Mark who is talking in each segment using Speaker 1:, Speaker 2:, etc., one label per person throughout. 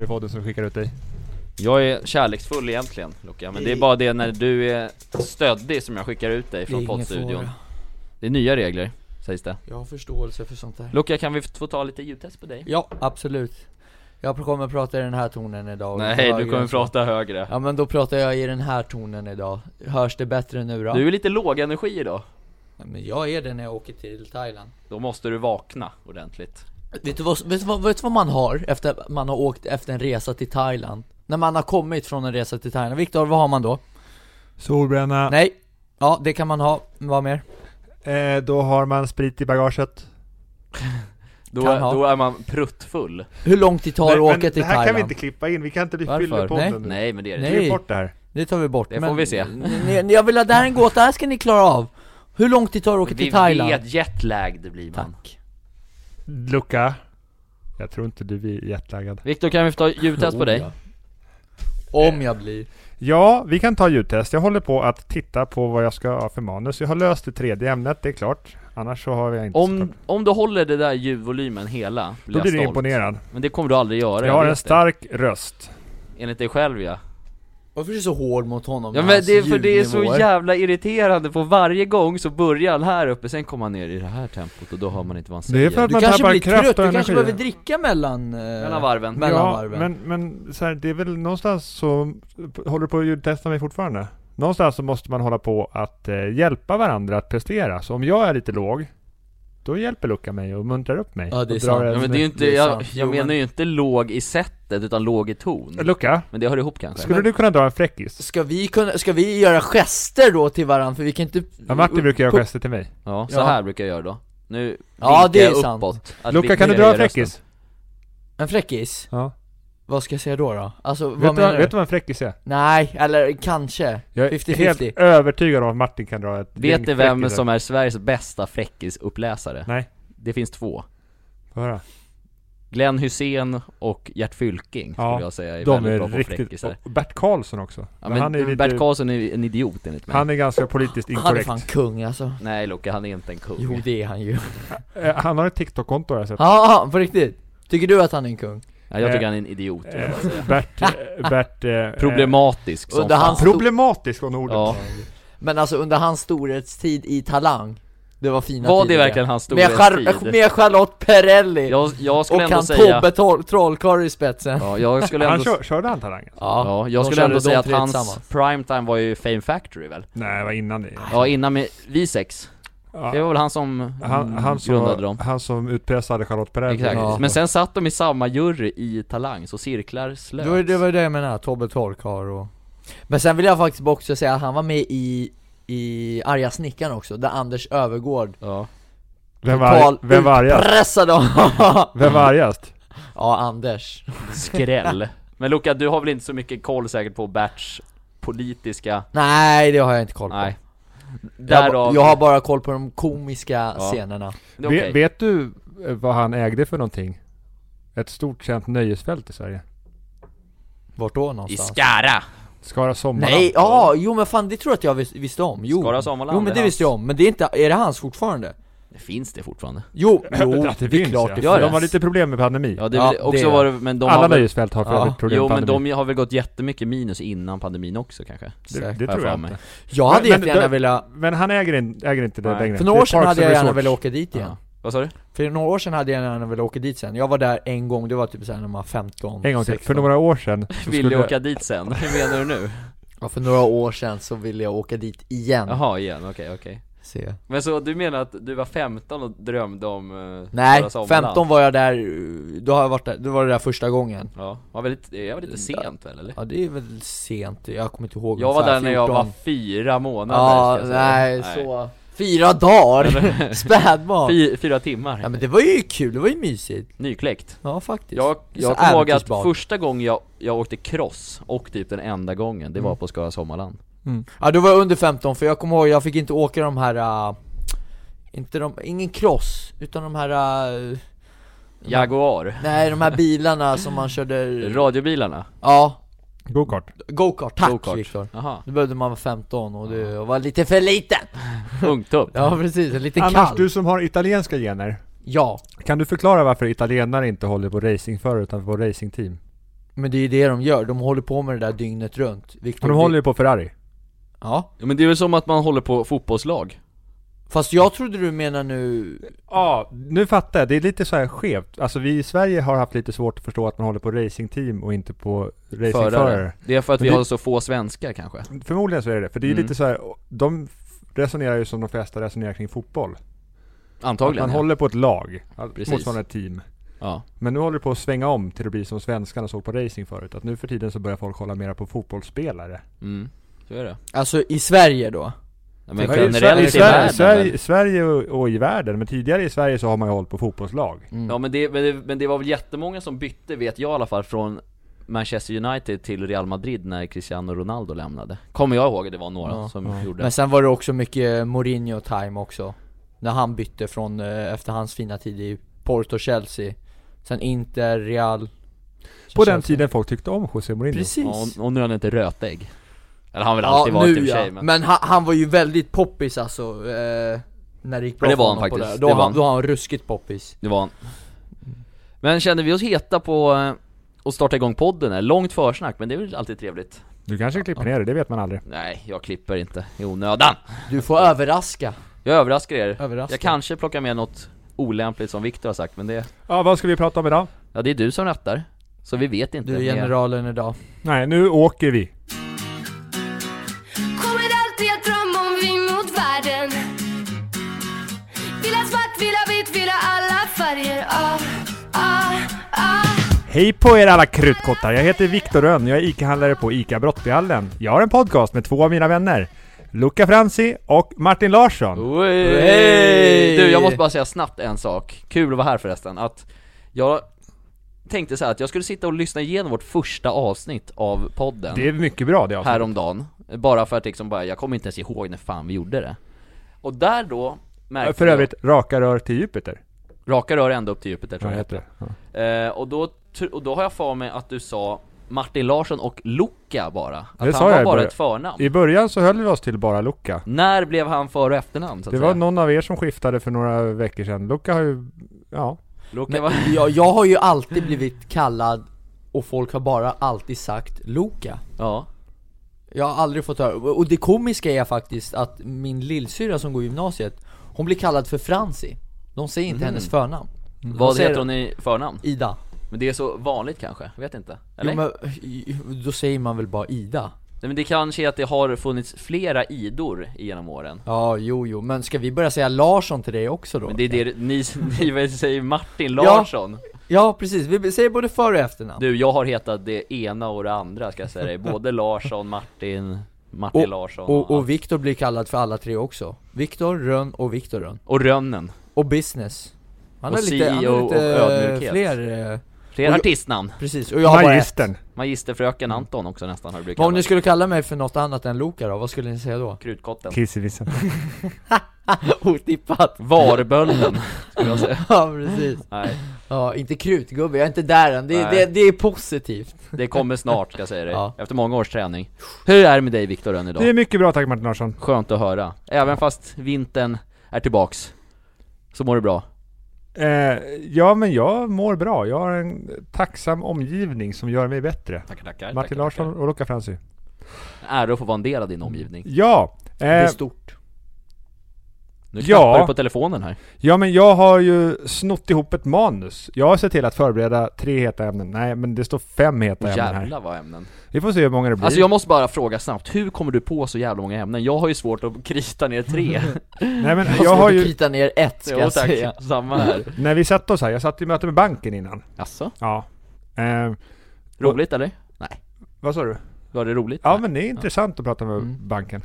Speaker 1: i podden som skickar ut dig.
Speaker 2: Jag är kärleksfull egentligen Luka, men det är bara det när du är stöddig som jag skickar ut dig
Speaker 3: Det är
Speaker 2: från
Speaker 3: ingen
Speaker 2: poddstudion
Speaker 3: fara.
Speaker 2: Det är nya regler, sägs det
Speaker 3: Jag har förståelse för sånt där.
Speaker 2: Luka, kan vi få ta lite ljudtest på dig?
Speaker 3: Ja, absolut. Jag kommer prata i den här tonen idag.
Speaker 2: Nej,
Speaker 3: Jag-
Speaker 2: du kommer prata högre
Speaker 3: Ja men då pratar jag i den här tonen idag. Hörs det bättre nu då?
Speaker 2: Du är lite låg energi idag
Speaker 3: Ja, Men jag är det när jag åker till Thailand.
Speaker 2: Då måste du vakna ordentligt
Speaker 3: Vet du, vad, vet, du vad, vet du vad man har efter att man har åkt efter en resa till Thailand? När man har kommit från en resa till Thailand, Viktor vad har man då?
Speaker 1: Solbränna.
Speaker 3: Nej! Ja, det kan man ha, vad mer?
Speaker 1: Eh, då har man sprit i bagaget.
Speaker 2: Då,
Speaker 3: Kan ha.
Speaker 2: då är man pruttfull
Speaker 3: Hur lång tid tar det att åka till
Speaker 1: det här kan
Speaker 3: Thailand?
Speaker 1: vi inte klippa in, vi kan inte
Speaker 3: Varför?
Speaker 1: fylla podden
Speaker 3: Nej.
Speaker 1: nu.
Speaker 2: Nej men det är det
Speaker 3: Nej.
Speaker 1: Klipp bort det här.
Speaker 3: Det tar vi bort.
Speaker 2: Det får vi se.
Speaker 3: Ni, ni, jag vill ha, det här är en gåta, det här ska ni klara av. Hur lång tid tar det att åka
Speaker 2: Vi
Speaker 3: till Thailand?
Speaker 2: vet, jetlagged blir man
Speaker 3: Tack.
Speaker 1: Luca. Jag tror inte du blir jetlaggad.
Speaker 2: Viktor, kan vi få ta ljudtest på dig?
Speaker 1: Eh.
Speaker 3: Om jag blir.
Speaker 1: Ja, vi kan ta ljudtest. Jag håller på att titta på vad jag ska ha för manus. Jag har löst det tredje ämnet, det är klart. Annars så har jag inte... så
Speaker 2: Om,
Speaker 1: klart.
Speaker 2: om du håller det där ljudvolymen hela, blir
Speaker 1: Då
Speaker 2: jag
Speaker 1: blir du
Speaker 2: stolt.
Speaker 1: imponerad.
Speaker 2: Men det kommer du aldrig göra,
Speaker 1: Jag har
Speaker 2: vet
Speaker 1: en stark röst.
Speaker 2: det. Enligt dig själv ja
Speaker 3: Varför är du så hård mot honom?
Speaker 2: Ja
Speaker 3: med
Speaker 2: men
Speaker 3: hans
Speaker 2: det är för det är så
Speaker 3: ljudnivåer?
Speaker 2: jävla irriterande, för varje gång så börjar han här uppe, sen kommer han ner i det här tempot och då hör man inte vad han
Speaker 1: Det
Speaker 2: säger
Speaker 1: är för att
Speaker 3: Du
Speaker 1: man
Speaker 3: kanske
Speaker 1: tappar
Speaker 3: blir
Speaker 1: kraft
Speaker 3: trött,
Speaker 1: och
Speaker 3: du kanske behöver
Speaker 1: energi.
Speaker 3: dricka mellan... eh,
Speaker 2: Mellan varven
Speaker 3: Men- mellan
Speaker 1: Ja,
Speaker 3: varven.
Speaker 1: men, men så här, det är väl någonstans så håller du på att ljudtesta mig fortfarande. Någonstans så måste man hålla på att eh, hjälpa varandra att prestera. Så om jag är lite låg, då hjälper Luca mig och muntrar upp mig.
Speaker 3: Ja, det är
Speaker 1: Och drar
Speaker 3: sant.
Speaker 1: en-
Speaker 2: Ja men det är ju inte,
Speaker 3: Det är
Speaker 2: jag,
Speaker 3: sant.
Speaker 2: jag
Speaker 3: Jo,
Speaker 2: menar
Speaker 3: men-
Speaker 2: ju inte låg i sättet utan låg i ton
Speaker 1: Eh, Luca,
Speaker 2: Men det hör ihop kanske?
Speaker 1: skulle du kunna dra en fräckis?
Speaker 3: Ska vi kunna, ska vi göra gester då till varandra? För vi kan inte...
Speaker 1: Ja, Martin brukar göra gester till mig.
Speaker 2: Ja, så
Speaker 3: Ja.
Speaker 2: här brukar jag göra då Nu
Speaker 3: Ja,
Speaker 2: vinkar
Speaker 3: det är
Speaker 2: jag
Speaker 3: sant.
Speaker 2: uppåt Att
Speaker 1: Luca,
Speaker 2: vi-
Speaker 1: kan du
Speaker 2: ner
Speaker 1: dra
Speaker 2: i
Speaker 1: en
Speaker 2: rösten.
Speaker 1: fräckis?
Speaker 3: En fräckis?
Speaker 1: Ja.
Speaker 3: Vad ska jag säga då då? Alltså, vad
Speaker 1: Vet du,
Speaker 3: menar
Speaker 1: vad-
Speaker 3: du?
Speaker 1: vet du vad en fräckis är?
Speaker 3: Nej, eller kanske.
Speaker 1: Jag är
Speaker 3: 50-50.
Speaker 1: helt övertygad om att Martin kan dra ett
Speaker 2: Vet
Speaker 1: gäng
Speaker 2: du vem
Speaker 1: fräckisar.
Speaker 2: som är Sveriges bästa fräckisuppläsare?
Speaker 1: Nej.
Speaker 2: Det finns två
Speaker 1: Får höra.
Speaker 2: Glenn Hussein och Gert Fylking skulle
Speaker 1: Ja,
Speaker 2: jag säga är
Speaker 1: De
Speaker 2: väldigt
Speaker 1: är
Speaker 2: bra på
Speaker 1: riktigt...
Speaker 2: fräckisar
Speaker 1: Och Bert Karlsson också.
Speaker 2: Ja,
Speaker 1: Men
Speaker 2: men
Speaker 1: han är lite...
Speaker 2: Bert Karlsson är en idiot enligt mig
Speaker 1: Han är ganska politiskt
Speaker 3: Han är
Speaker 1: inkorrekt.
Speaker 3: fan kung alltså.
Speaker 2: Nej Luca, han är inte en kung
Speaker 3: Jo det är han ju.
Speaker 1: Eh, Han har ett TikTok-konto har jag sett.
Speaker 3: Ja, på riktigt. Tycker du att han är en kung?
Speaker 2: ja, Jag tycker
Speaker 1: Eh,
Speaker 2: han är en idiot
Speaker 1: Eh, Bert... eh, Bert eh,
Speaker 2: Problematisk som
Speaker 3: Under
Speaker 2: fan
Speaker 1: eh,
Speaker 3: hans, sto-
Speaker 1: Problematisk var nog ordet.
Speaker 2: Ja,
Speaker 3: men alltså under hans storhetstid i Talang, det var fina
Speaker 2: var det
Speaker 3: tider
Speaker 2: verkligen hans
Speaker 3: med, Char-
Speaker 2: storhetstid?
Speaker 3: med Charlotte Perrelli
Speaker 2: Jag, jag
Speaker 3: och
Speaker 2: skulle ändå
Speaker 3: han
Speaker 2: säga
Speaker 3: Tobbe Troll- Trollkarl i spetsen.
Speaker 2: Ja, jag skulle
Speaker 1: Han
Speaker 2: ändå
Speaker 1: kör, körde han talangen?
Speaker 3: Ja.
Speaker 2: Ja, jag
Speaker 3: de
Speaker 2: skulle
Speaker 3: körde
Speaker 2: ändå
Speaker 3: de
Speaker 2: säga att
Speaker 3: tre
Speaker 2: hans
Speaker 3: tillsammans.
Speaker 2: primetime var ju Fame Factory väl?
Speaker 1: Nej, det var innan det.
Speaker 2: Ja, innan med vi sex. Det
Speaker 1: Ja.
Speaker 2: var väl han som mm,
Speaker 1: Han, han,
Speaker 2: grundade
Speaker 1: som,
Speaker 2: dem.
Speaker 1: han som utpressade Charlotte Perrelli.
Speaker 2: Exakt.
Speaker 3: Ja.
Speaker 2: Men sen satt de i samma jury i Talang, så cirklar slöts.
Speaker 3: Det var, det var det jag menade, Tobbe Trollkarl och... Men sen vill jag faktiskt också säga att han var med i, i Arga Snickaren också, där Anders Övergård
Speaker 2: Ja.
Speaker 1: Vem var, arg- vem var argast?
Speaker 3: Pressade honom!
Speaker 1: Vem var argast?
Speaker 3: ja, Anders.
Speaker 2: Skräll. Men Luca, du har väl inte så mycket koll säkert på Berts politiska...
Speaker 3: Nej, det har jag inte koll på.
Speaker 2: Nej.
Speaker 3: Jag, ba-
Speaker 2: Därav...
Speaker 3: jag har bara koll på de komiska
Speaker 2: Ja.
Speaker 3: scenerna.
Speaker 2: Det är
Speaker 1: Ve-
Speaker 2: okej.
Speaker 1: Vet du eh, vad han ägde för någonting? Ett stort känt nöjesfält i Sverige.
Speaker 3: Vart då
Speaker 2: I
Speaker 3: någonstans?
Speaker 2: Skara!
Speaker 1: Skara Sommarland.
Speaker 3: Nej, ja, jo men fan det tror jag att jag vis- visste om. Jo.
Speaker 2: Skara Sommarland,
Speaker 3: Jo men
Speaker 2: det är
Speaker 3: det visste jag om, men det är inte, är det hans fortfarande?
Speaker 2: Det finns det fortfarande.
Speaker 3: Jo, jo,
Speaker 1: Att det, finns,
Speaker 3: klart
Speaker 1: ja.
Speaker 3: det
Speaker 2: Gör
Speaker 1: De
Speaker 2: det.
Speaker 1: har lite problem med pandemi.
Speaker 2: Ja, det
Speaker 3: Ja,
Speaker 2: är väl
Speaker 3: det
Speaker 2: också
Speaker 3: är det.
Speaker 2: var det, men de
Speaker 1: Alla
Speaker 2: har väl...
Speaker 1: nöjesfält har för
Speaker 3: Ja.
Speaker 1: övrigt problem
Speaker 2: Jo,
Speaker 1: med
Speaker 2: men
Speaker 1: pandemi.
Speaker 2: de har väl gått jättemycket minus innan pandemin också kanske?
Speaker 1: Det,
Speaker 3: Säkert.
Speaker 1: det
Speaker 2: har jag
Speaker 1: tror jag
Speaker 2: för mig.
Speaker 1: inte.
Speaker 3: Jag hade
Speaker 1: Men- men
Speaker 3: jättegärna
Speaker 1: då-
Speaker 3: velat,
Speaker 1: Men han äger, in, äger inte det
Speaker 2: Nej.
Speaker 1: längre.
Speaker 3: för
Speaker 1: Det
Speaker 3: några
Speaker 1: är
Speaker 3: år sedan
Speaker 1: Parks
Speaker 3: hade jag
Speaker 1: and
Speaker 3: gärna
Speaker 1: Resorts.
Speaker 3: velat åka dit igen
Speaker 2: Ja. Vad sa du?
Speaker 3: För några år sedan hade jag gärna velat åka dit sen, jag var där en gång, det var typ såhär när man var 15
Speaker 1: En gång till.
Speaker 3: 16.
Speaker 1: För några år sedan. så
Speaker 2: Vill du
Speaker 1: skulle-
Speaker 2: åka dit sen? Hur menar du nu?
Speaker 3: Ja för några år sedan så ville jag åka dit igen
Speaker 2: Jaha, igen, okej, okej
Speaker 3: Se.
Speaker 2: Men så du menar att du var 15 och drömde om uh,
Speaker 3: Nej, 15 var jag där, eh, då har jag varit där, då var det där första gången
Speaker 2: Ja, var väl lite, jag var lite sent väl eller?
Speaker 3: Ja det är väl sent, jag kommer inte ihåg
Speaker 2: Jag var
Speaker 3: ungefär
Speaker 2: där när jag
Speaker 3: 14.
Speaker 2: var fyra månader
Speaker 3: Ja,
Speaker 2: ska jag säga.
Speaker 3: nej, så Fyra dagar! Spädbarn!
Speaker 2: Fy, Fyra timmar,
Speaker 3: Ja men det var ju kul, det var ju mysigt
Speaker 2: nykläckt
Speaker 3: Ja faktiskt
Speaker 2: Jag,
Speaker 3: Det är så
Speaker 2: jag kommer ihåg att
Speaker 3: äventyrsbad.
Speaker 2: första gången jag, jag åkte cross, och typ den enda gången, det var
Speaker 1: Mm.
Speaker 2: på Skara Sommarland
Speaker 3: Ja då var jag under 15 för jag kommer ihåg, jag fick inte åka de här äh, Inte de, ingen cross, utan de här äh,
Speaker 1: Mm.
Speaker 2: Jaguar,
Speaker 3: Nej de här bilarna som man körde
Speaker 2: Mm. radiobilarna,
Speaker 3: Ja,
Speaker 1: Go-kart.
Speaker 3: go-kart, tack
Speaker 2: Go-kart.
Speaker 3: Viktor
Speaker 2: jaha,
Speaker 3: Då behövde man vara 15 och det var lite för liten
Speaker 2: ungtupp
Speaker 3: Ja precis, lite
Speaker 1: Annars,
Speaker 3: kall
Speaker 1: du som har italienska gener.
Speaker 3: Ja,
Speaker 1: Kan du förklara varför italienare inte håller på racingförare utan på racingteam?
Speaker 3: Men det är ju det de gör, de håller på med det där dygnet runt Victor,
Speaker 1: Och de håller ju på Ferrari.
Speaker 3: Ja,
Speaker 2: Ja, men det är väl som att man håller på fotbollslag?
Speaker 3: fast jag trodde du menar nu
Speaker 1: Ja, nu fattar jag. Det är lite så här skevt. Alltså vi i Sverige har haft lite svårt att förstå att man håller på racingteam och inte på racingförare.
Speaker 2: Förare. Det är för att
Speaker 1: Men
Speaker 2: vi
Speaker 1: det-
Speaker 2: har så få svenskar kanske.
Speaker 1: Förmodligen så är det det. För det är
Speaker 2: Mm.
Speaker 1: lite så här, de resonerar ju som de flesta resonerar kring fotboll.
Speaker 2: Antagligen.
Speaker 1: att man
Speaker 2: ja.
Speaker 1: håller på ett lag,
Speaker 2: Precis.
Speaker 1: motsvarande ett team.
Speaker 2: Ja.
Speaker 1: Men nu håller det på att svänga om till att bli som svenskarna såg på racing förut. Att nu för tiden så börjar folk hålla mer på fotbollsspelare.
Speaker 2: Mm. Så är det.
Speaker 3: Alltså i Sverige då?
Speaker 2: Ja, men
Speaker 1: Ja, i
Speaker 2: generellt
Speaker 1: Sverige,
Speaker 2: i
Speaker 1: Sverige,
Speaker 2: världen.
Speaker 1: Sverige, Sverige och, och i världen, men tidigare i Sverige så har man ju hållit på fotbollslag.
Speaker 2: Ja men det, men, det, men det var väl jättemånga som bytte, vet jag i alla fall, från Manchester United till Real Madrid när Cristiano Ronaldo lämnade. Kommer jag ihåg, det var några
Speaker 3: Ja,
Speaker 2: som
Speaker 1: ja.
Speaker 2: gjorde.
Speaker 3: Men sen var det också mycket Mourinho-time också När han bytte från, eh, efter hans fina tid i Porto, Chelsea Sen Inter, Real
Speaker 1: På
Speaker 3: Chelsea.
Speaker 1: den tiden folk tyckte om José Mourinho.
Speaker 3: Precis
Speaker 2: Ja, och, och nu är han inte rötägg. Eller han har väl alltid varit i och för sig, men,
Speaker 3: han, han var ju väldigt poppis alltså, eh, när det gick bra
Speaker 2: Men det
Speaker 3: för
Speaker 2: var han
Speaker 3: honom på
Speaker 2: faktiskt,
Speaker 3: Då,
Speaker 2: det
Speaker 3: var
Speaker 2: var
Speaker 3: han,
Speaker 2: han.
Speaker 3: då var han ruskigt poppis
Speaker 2: det var han. Men kände vi oss heta på eh, att starta igång podden? eller? Långt försnack, men det är väl alltid trevligt.
Speaker 1: Du kanske klipper ner det, det vet man aldrig.
Speaker 2: Nej, jag klipper inte i onödan.
Speaker 3: Du får överraska,
Speaker 2: Jag överraskar er.
Speaker 3: överraska
Speaker 2: Jag kanske plockar med något olämpligt som Viktor har sagt, men det,
Speaker 1: Ja, vad ska vi prata om idag?
Speaker 2: ja, det är du som rattar. Så vi vet inte.
Speaker 3: Du är
Speaker 2: mer.
Speaker 3: generalen idag
Speaker 1: Nej, nu åker vi.
Speaker 4: Kommer alltid att drömma om vi mot världen Vill ha svart, vill ha vitt, vill ha alla färger ah, ah, ah.
Speaker 1: Hej på er alla kruttkottar! Jag heter Viktor Rönn, jag är ICA-handlare på ICA Brottbyhallen. Jag har en podcast med två av mina vänner. Luca Franzi och Martin Larsson.
Speaker 2: Oh. Hej! Du, jag måste bara säga snabbt en sak. Kul att vara här förresten. Att jag tänkte så här att jag skulle sitta och lyssna igenom vårt första avsnitt av podden
Speaker 1: Det är mycket bra det avsnittet.
Speaker 2: häromdagen. Bara för att liksom bara, jag kommer inte ens ihåg när fan vi gjorde det. Och där då märkte
Speaker 1: För övrigt, raka rör till Jupiter.
Speaker 2: jag, raka rör ända upp till Jupiter
Speaker 1: Vad
Speaker 2: tror jag heter
Speaker 1: det? Ja.
Speaker 2: det. Eh, och, då, tr- och då har jag för mig att du sa Martin Larsson och Luca bara. Att
Speaker 1: Det
Speaker 2: han
Speaker 1: sa
Speaker 2: var
Speaker 1: jag i
Speaker 2: bara
Speaker 1: början.
Speaker 2: ett förnamn.
Speaker 1: I början så höll vi oss till bara Luca.
Speaker 2: När blev han för och efternamn så att
Speaker 1: Det var
Speaker 2: säga?
Speaker 1: någon av er som skiftade för några veckor sedan. Luca har ju, ja.
Speaker 2: Luca var...
Speaker 3: Men jag, jag har ju alltid blivit kallad och folk har bara alltid sagt Loka
Speaker 2: Ja.
Speaker 3: Jag har aldrig fått höra, och det komiska är faktiskt att min lillsyrra som går i gymnasiet Hon blir kallad för Franzi De säger inte
Speaker 2: Mhm.
Speaker 3: hennes förnamn
Speaker 2: Vad
Speaker 3: säger
Speaker 2: heter hon i förnamn?
Speaker 3: Ida
Speaker 2: Men det är så vanligt kanske, jag vet inte. Eller?
Speaker 3: jo, men, Då säger man väl bara Ida?
Speaker 2: Nej, men det kanske är att det har funnits flera Idor genom åren.
Speaker 3: Ja, jo, jo, men ska vi börja säga Larsson till dig också då?
Speaker 2: Men det är det ni, ni väl säger Martin Larsson.
Speaker 3: Ja, precis, vi säger både för och efternamn
Speaker 2: Du, jag har hetat det ena och det andra ska jag säga dig. Både Larsson, Martin, Martin Larsson och,
Speaker 3: Och,
Speaker 2: och,
Speaker 3: och Viktor blir kallad för alla tre också Viktor, Rönn och Viktor Rönn
Speaker 2: Rönnen.
Speaker 3: Och Business Han
Speaker 2: Och
Speaker 3: har lite, han
Speaker 2: CEO
Speaker 3: har
Speaker 2: och
Speaker 3: lite
Speaker 2: ödmjukhet.
Speaker 3: fler, eh,
Speaker 2: Fler
Speaker 3: Och jag-
Speaker 2: artistnamn.
Speaker 3: precis, och jag har bara ett
Speaker 1: Magistern.
Speaker 2: Magisterfröken Anton också nästan har det blivit
Speaker 3: Men om ni
Speaker 2: kallat.
Speaker 3: skulle kalla mig för något annat än Loka då, vad skulle ni säga då?
Speaker 2: Krutkotten.
Speaker 1: Kissevissen.
Speaker 3: Otippat!
Speaker 2: Varbölden, skulle jag säga.
Speaker 3: Ja precis,
Speaker 2: Nej,
Speaker 3: ja inte krutgubbe, jag är inte där än, det,
Speaker 2: Nej.
Speaker 3: det, det är positivt
Speaker 2: det kommer snart ska jag säga dig.
Speaker 3: Ja.
Speaker 2: Efter många års träning. Hur är det med dig Viktor Rönn idag?
Speaker 1: Det är mycket bra tack Martin Larsson.
Speaker 2: Skönt att höra. Även fast vintern är tillbaks, så mår du bra.
Speaker 1: Eh, ja men jag mår bra. Jag har en tacksam omgivning som gör mig bättre.
Speaker 2: Tackar, tackar.
Speaker 1: Martin Larsson och Luca Franzi.
Speaker 2: Ära att få vara en del av din omgivning.
Speaker 1: Ja!
Speaker 3: Det är
Speaker 1: Eh,
Speaker 3: stort
Speaker 2: Nu
Speaker 1: Ja.
Speaker 2: knappar du på telefonen här.
Speaker 1: ja men jag har ju snott ihop ett manus. Jag har sett till att förbereda tre heta ämnen. Nej men det står fem heta
Speaker 2: Åh,
Speaker 1: ämnen här.
Speaker 2: jävlar vad ämnen.
Speaker 1: Vi får se hur många det blir.
Speaker 2: Alltså jag måste bara fråga snabbt, hur kommer du på så jävla många ämnen? Jag har ju svårt att krita ner tre.
Speaker 1: Nej men
Speaker 3: Jag
Speaker 1: jag har ju...
Speaker 3: krita ner ett ska
Speaker 2: Jo,
Speaker 3: jag
Speaker 2: tack.
Speaker 3: säga
Speaker 2: Samma här.
Speaker 1: När vi satte oss här, jag satt i möte med banken innan.
Speaker 2: Alltså,
Speaker 1: Ja. Eh,
Speaker 2: roligt eller?
Speaker 1: vad sa du?
Speaker 2: Var det roligt?
Speaker 1: Ja men det är intressant att prata med
Speaker 3: Mm.
Speaker 1: banken.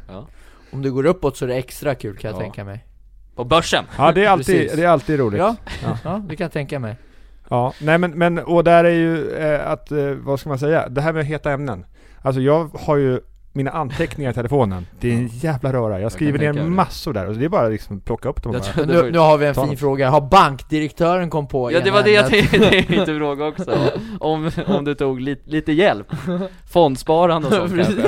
Speaker 3: Om det går uppåt så är det extra kul kan jag
Speaker 2: Ja.
Speaker 3: tänka mig
Speaker 2: På börsen!
Speaker 1: Ja det är alltid,
Speaker 3: Precis.
Speaker 1: det är alltid roligt.
Speaker 3: Ja,
Speaker 1: Ja.
Speaker 3: ja det kan jag tänka mig
Speaker 1: Ja, nej men, men och där är ju eh, att, eh, vad ska man säga, det här med heta ämnen. Alltså jag har ju mina anteckningar i telefonen. Det är en jävla röra. Jag skriver
Speaker 2: tänka
Speaker 1: ner
Speaker 2: mig det.
Speaker 1: massor där. Och det är bara liksom plocka upp dem
Speaker 2: Jag
Speaker 1: bara.
Speaker 2: tror-
Speaker 3: Men nu, nu har vi en
Speaker 1: Ta
Speaker 3: fin
Speaker 1: något.
Speaker 3: fråga, har bankdirektören kom på
Speaker 2: Ja
Speaker 3: ena
Speaker 2: det var det jag
Speaker 3: ämnet?
Speaker 2: tänkte fråga också, om, om du tog lite, lite hjälp Fondsparande och sånt kanske?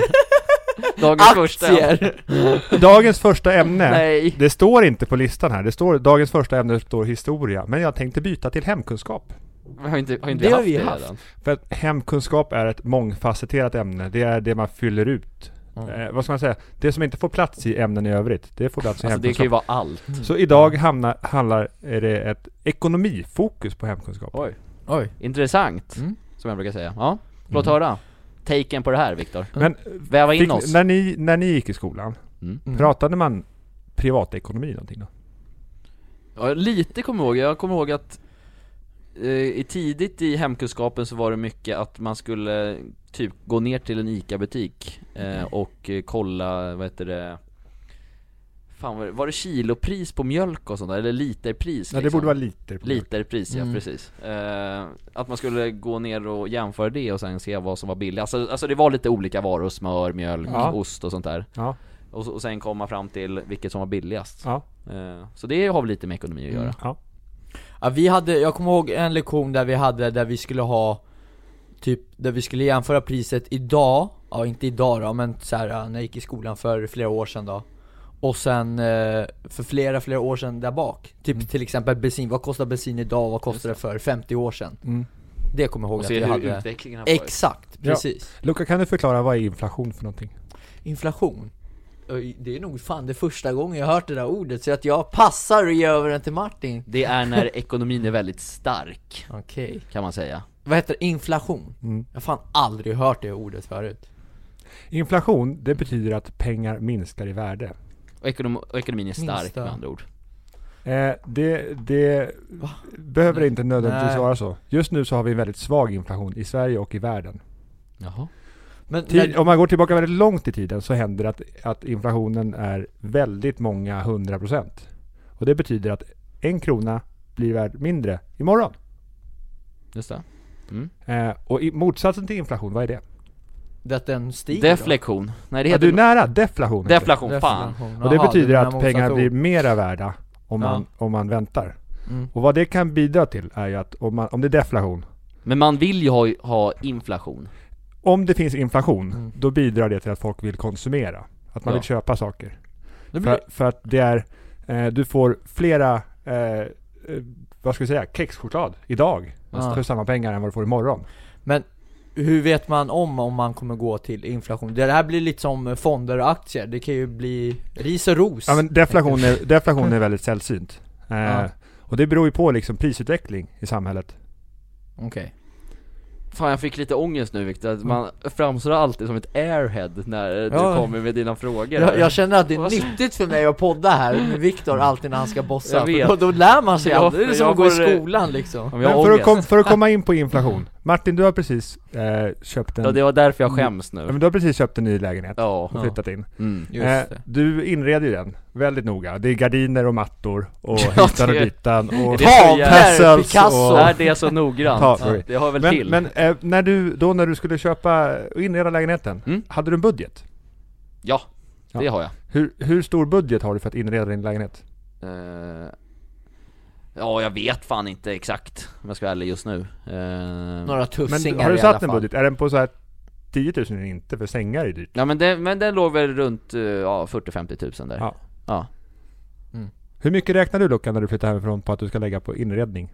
Speaker 2: Dagens första
Speaker 3: Aktier!
Speaker 1: Dagens första ämne.
Speaker 2: Nej!
Speaker 1: Det står inte på listan här. Det står, dagens första ämne står historia. Men jag tänkte byta till hemkunskap.
Speaker 2: Men Har inte, har inte
Speaker 3: Det
Speaker 2: vi
Speaker 3: har
Speaker 2: haft
Speaker 3: vi
Speaker 2: det
Speaker 3: haft.
Speaker 2: redan?
Speaker 1: För att hemkunskap är ett mångfacetterat ämne. Det är det man fyller ut.
Speaker 2: Mm.
Speaker 1: Eh, vad ska man säga? Det som inte får plats i ämnen i övrigt, det får plats i
Speaker 2: Alltså det
Speaker 1: hemkunskap.
Speaker 2: kan ju vara allt.
Speaker 1: Så idag hamnar, handlar, är det ett ekonomifokus på hemkunskap.
Speaker 2: Oj.
Speaker 3: Oj.
Speaker 2: Intressant,
Speaker 3: Mm.
Speaker 2: som jag brukar säga. Ja, låt höra. Taken på det här Viktor.
Speaker 1: Men
Speaker 2: Väva in
Speaker 1: fick,
Speaker 2: oss.
Speaker 1: när, ni, när ni gick i skolan,
Speaker 2: Mm.
Speaker 1: pratade man privatekonomi någonting då?
Speaker 2: Ja, lite kommer jag ihåg, jag kommer ihåg att eh, i tidigt i hemkunskapen så var det mycket att man skulle eh, typ gå ner till en ICA-butik eh,
Speaker 1: Mm.
Speaker 2: och eh, kolla, vad heter det Fan var det, var det kilopris på mjölk och sånt där? Eller literpris?
Speaker 1: Nej, det
Speaker 2: liksom?
Speaker 1: borde vara liter. på det.
Speaker 2: Literpris ja,
Speaker 3: Mm.
Speaker 2: precis. Eh, att man skulle gå ner och jämföra det och sen se vad som var billigt. Alltså, alltså det var lite olika varor, smör, mjölk,
Speaker 1: Ja.
Speaker 2: ost och sånt där.
Speaker 1: Ja,
Speaker 2: Och, så- och sen komma fram till vilket som var billigast.
Speaker 1: ja,
Speaker 2: Eh, så det har väl lite med ekonomi att göra.
Speaker 1: ja.
Speaker 3: Ja, vi hade, jag kommer ihåg en lektion där vi hade, där vi skulle ha Typ, där vi skulle jämföra priset idag, ja inte idag då men så här, när jag gick i skolan för flera år sedan då Och sen eh, för flera, flera år sedan där bak Typ till exempel bensin, vad kostar bensin idag och vad kostade det för 50 år sedan?
Speaker 1: Mm.
Speaker 3: Det kommer jag ihåg
Speaker 2: Och
Speaker 3: att
Speaker 2: se
Speaker 3: vi
Speaker 2: hur
Speaker 3: hade
Speaker 2: utvecklingen har varit.
Speaker 3: Exakt,
Speaker 1: Ja.
Speaker 3: precis
Speaker 1: Luca, kan du förklara vad är inflation för någonting?
Speaker 3: Inflation Oj, Det är nog fan det första gången jag har hört det där ordet så att jag passar och ger över den till Martin
Speaker 2: det är när ekonomin är väldigt stark,
Speaker 3: Okej
Speaker 2: kan man säga.
Speaker 3: Vad heter det? Inflation?
Speaker 1: Mm.
Speaker 3: Jag har fan aldrig hört det ordet förut
Speaker 1: Inflation, det betyder att pengar minskar i värde.
Speaker 2: Och, ekonom- och ekonomin är stark
Speaker 3: Minsta.
Speaker 2: med andra ord.
Speaker 1: Eh, det det behöver inte nödvändigtvis
Speaker 3: Nej.
Speaker 1: vara så. Just nu så har vi en väldigt svag inflation i Sverige och i världen.
Speaker 2: Jaha.
Speaker 3: Men
Speaker 1: Tid,
Speaker 3: när,
Speaker 1: om man går tillbaka väldigt långt i tiden så händer det att, att inflationen är väldigt många hundra procent. Och det betyder att en krona blir värd mindre imorgon.
Speaker 2: Just det.
Speaker 1: Eh, och i, motsatsen till inflation, vad är det?
Speaker 3: att den stiger då?
Speaker 2: Deflektion. Nej det
Speaker 1: Ja, du
Speaker 2: heter
Speaker 1: är nära deflation. heter det.
Speaker 2: deflation, fan.
Speaker 1: Och det
Speaker 3: Jaha,
Speaker 1: betyder
Speaker 3: menar
Speaker 1: att pengar
Speaker 3: motsatt
Speaker 1: blir
Speaker 3: ord.
Speaker 1: mera värda om man, om man väntar.
Speaker 3: Mm.
Speaker 1: Och vad det kan bidra till är ju att om, man, om det är deflation,
Speaker 2: Men man vill ju ha, ha inflation.
Speaker 1: om det finns inflation,
Speaker 3: Mm.
Speaker 1: då bidrar det till att folk vill konsumera. Att man
Speaker 2: Ja.
Speaker 1: vill köpa saker.
Speaker 3: Det blir,
Speaker 1: För, för att det är, eh, du får flera, eh, eh, vad ska vi säga, kexchoklad idag.
Speaker 3: Ja.
Speaker 1: För samma pengar än vad du får imorgon.
Speaker 3: Men hur vet man om om man kommer gå till inflation? Det här blir lite som fonder och aktier, det kan ju bli ris och ros
Speaker 1: Ja men deflation är, deflation är väldigt sällsynt. Eh,
Speaker 3: Ja.
Speaker 1: Och det beror ju på liksom prisutveckling i samhället.
Speaker 3: Okej
Speaker 2: Fan jag fick lite ångest nu Viktor, att man framstår alltid som ett airhead när
Speaker 3: Ja.
Speaker 2: du kommer med dina frågor
Speaker 3: jag, jag känner att det är
Speaker 2: Vad-
Speaker 3: nyttigt för mig att podda här med Viktor alltid när han ska bossa,
Speaker 2: Jag vet.
Speaker 3: för då, då lär man sig
Speaker 2: Ja,
Speaker 3: allt, det är
Speaker 2: för
Speaker 3: som
Speaker 2: jag
Speaker 3: att gå i
Speaker 2: får, eh,
Speaker 3: skolan liksom
Speaker 2: Om jag
Speaker 1: Men
Speaker 2: har
Speaker 1: för, att
Speaker 2: ångest.
Speaker 1: kom, för att komma in på inflation. Martin, du har precis eh, köpt en...
Speaker 2: Ja det var därför jag skäms
Speaker 1: Ja,
Speaker 2: nu.
Speaker 1: men du har precis köpt en ny lägenhet
Speaker 2: Ja.
Speaker 1: och flyttat in.
Speaker 2: Mm.
Speaker 3: Just
Speaker 1: Eh,
Speaker 3: det.
Speaker 1: du inreder ju den väldigt noga. Det är gardiner och mattor och
Speaker 2: Ja,
Speaker 1: hitan och
Speaker 2: det-
Speaker 1: ditan och
Speaker 2: det är så
Speaker 1: tavlor,
Speaker 2: jävla-
Speaker 1: tassels
Speaker 3: Picasso. alltså.
Speaker 1: och-
Speaker 2: Är det så noggrant?
Speaker 1: Ta-
Speaker 2: Det har väl till?
Speaker 1: Men, men eh, när du, då när du skulle köpa och inreda lägenheten,
Speaker 2: Mm.
Speaker 1: hade du en budget?
Speaker 2: Ja,
Speaker 1: Ja.
Speaker 2: det har jag.
Speaker 1: Hur, hur stor budget har du för att inreda din lägenhet?
Speaker 2: Eh, ja, jag vet fan inte exakt om jag ska vara ärlig just nu. Eh,
Speaker 3: Några
Speaker 1: Men
Speaker 3: tussingar
Speaker 1: du- har du
Speaker 3: i alla
Speaker 1: satt en
Speaker 3: fall.
Speaker 1: budget? Är den på så här 10 000 eller inte? För sängar är dyrt.
Speaker 2: Ja men den, men den låg väl runt eh, ja, 40-50 tusen där.
Speaker 1: Ja.
Speaker 2: ja.
Speaker 1: Hur mycket räknar du Luca när du flyttar hemifrån på att du ska lägga på inredning?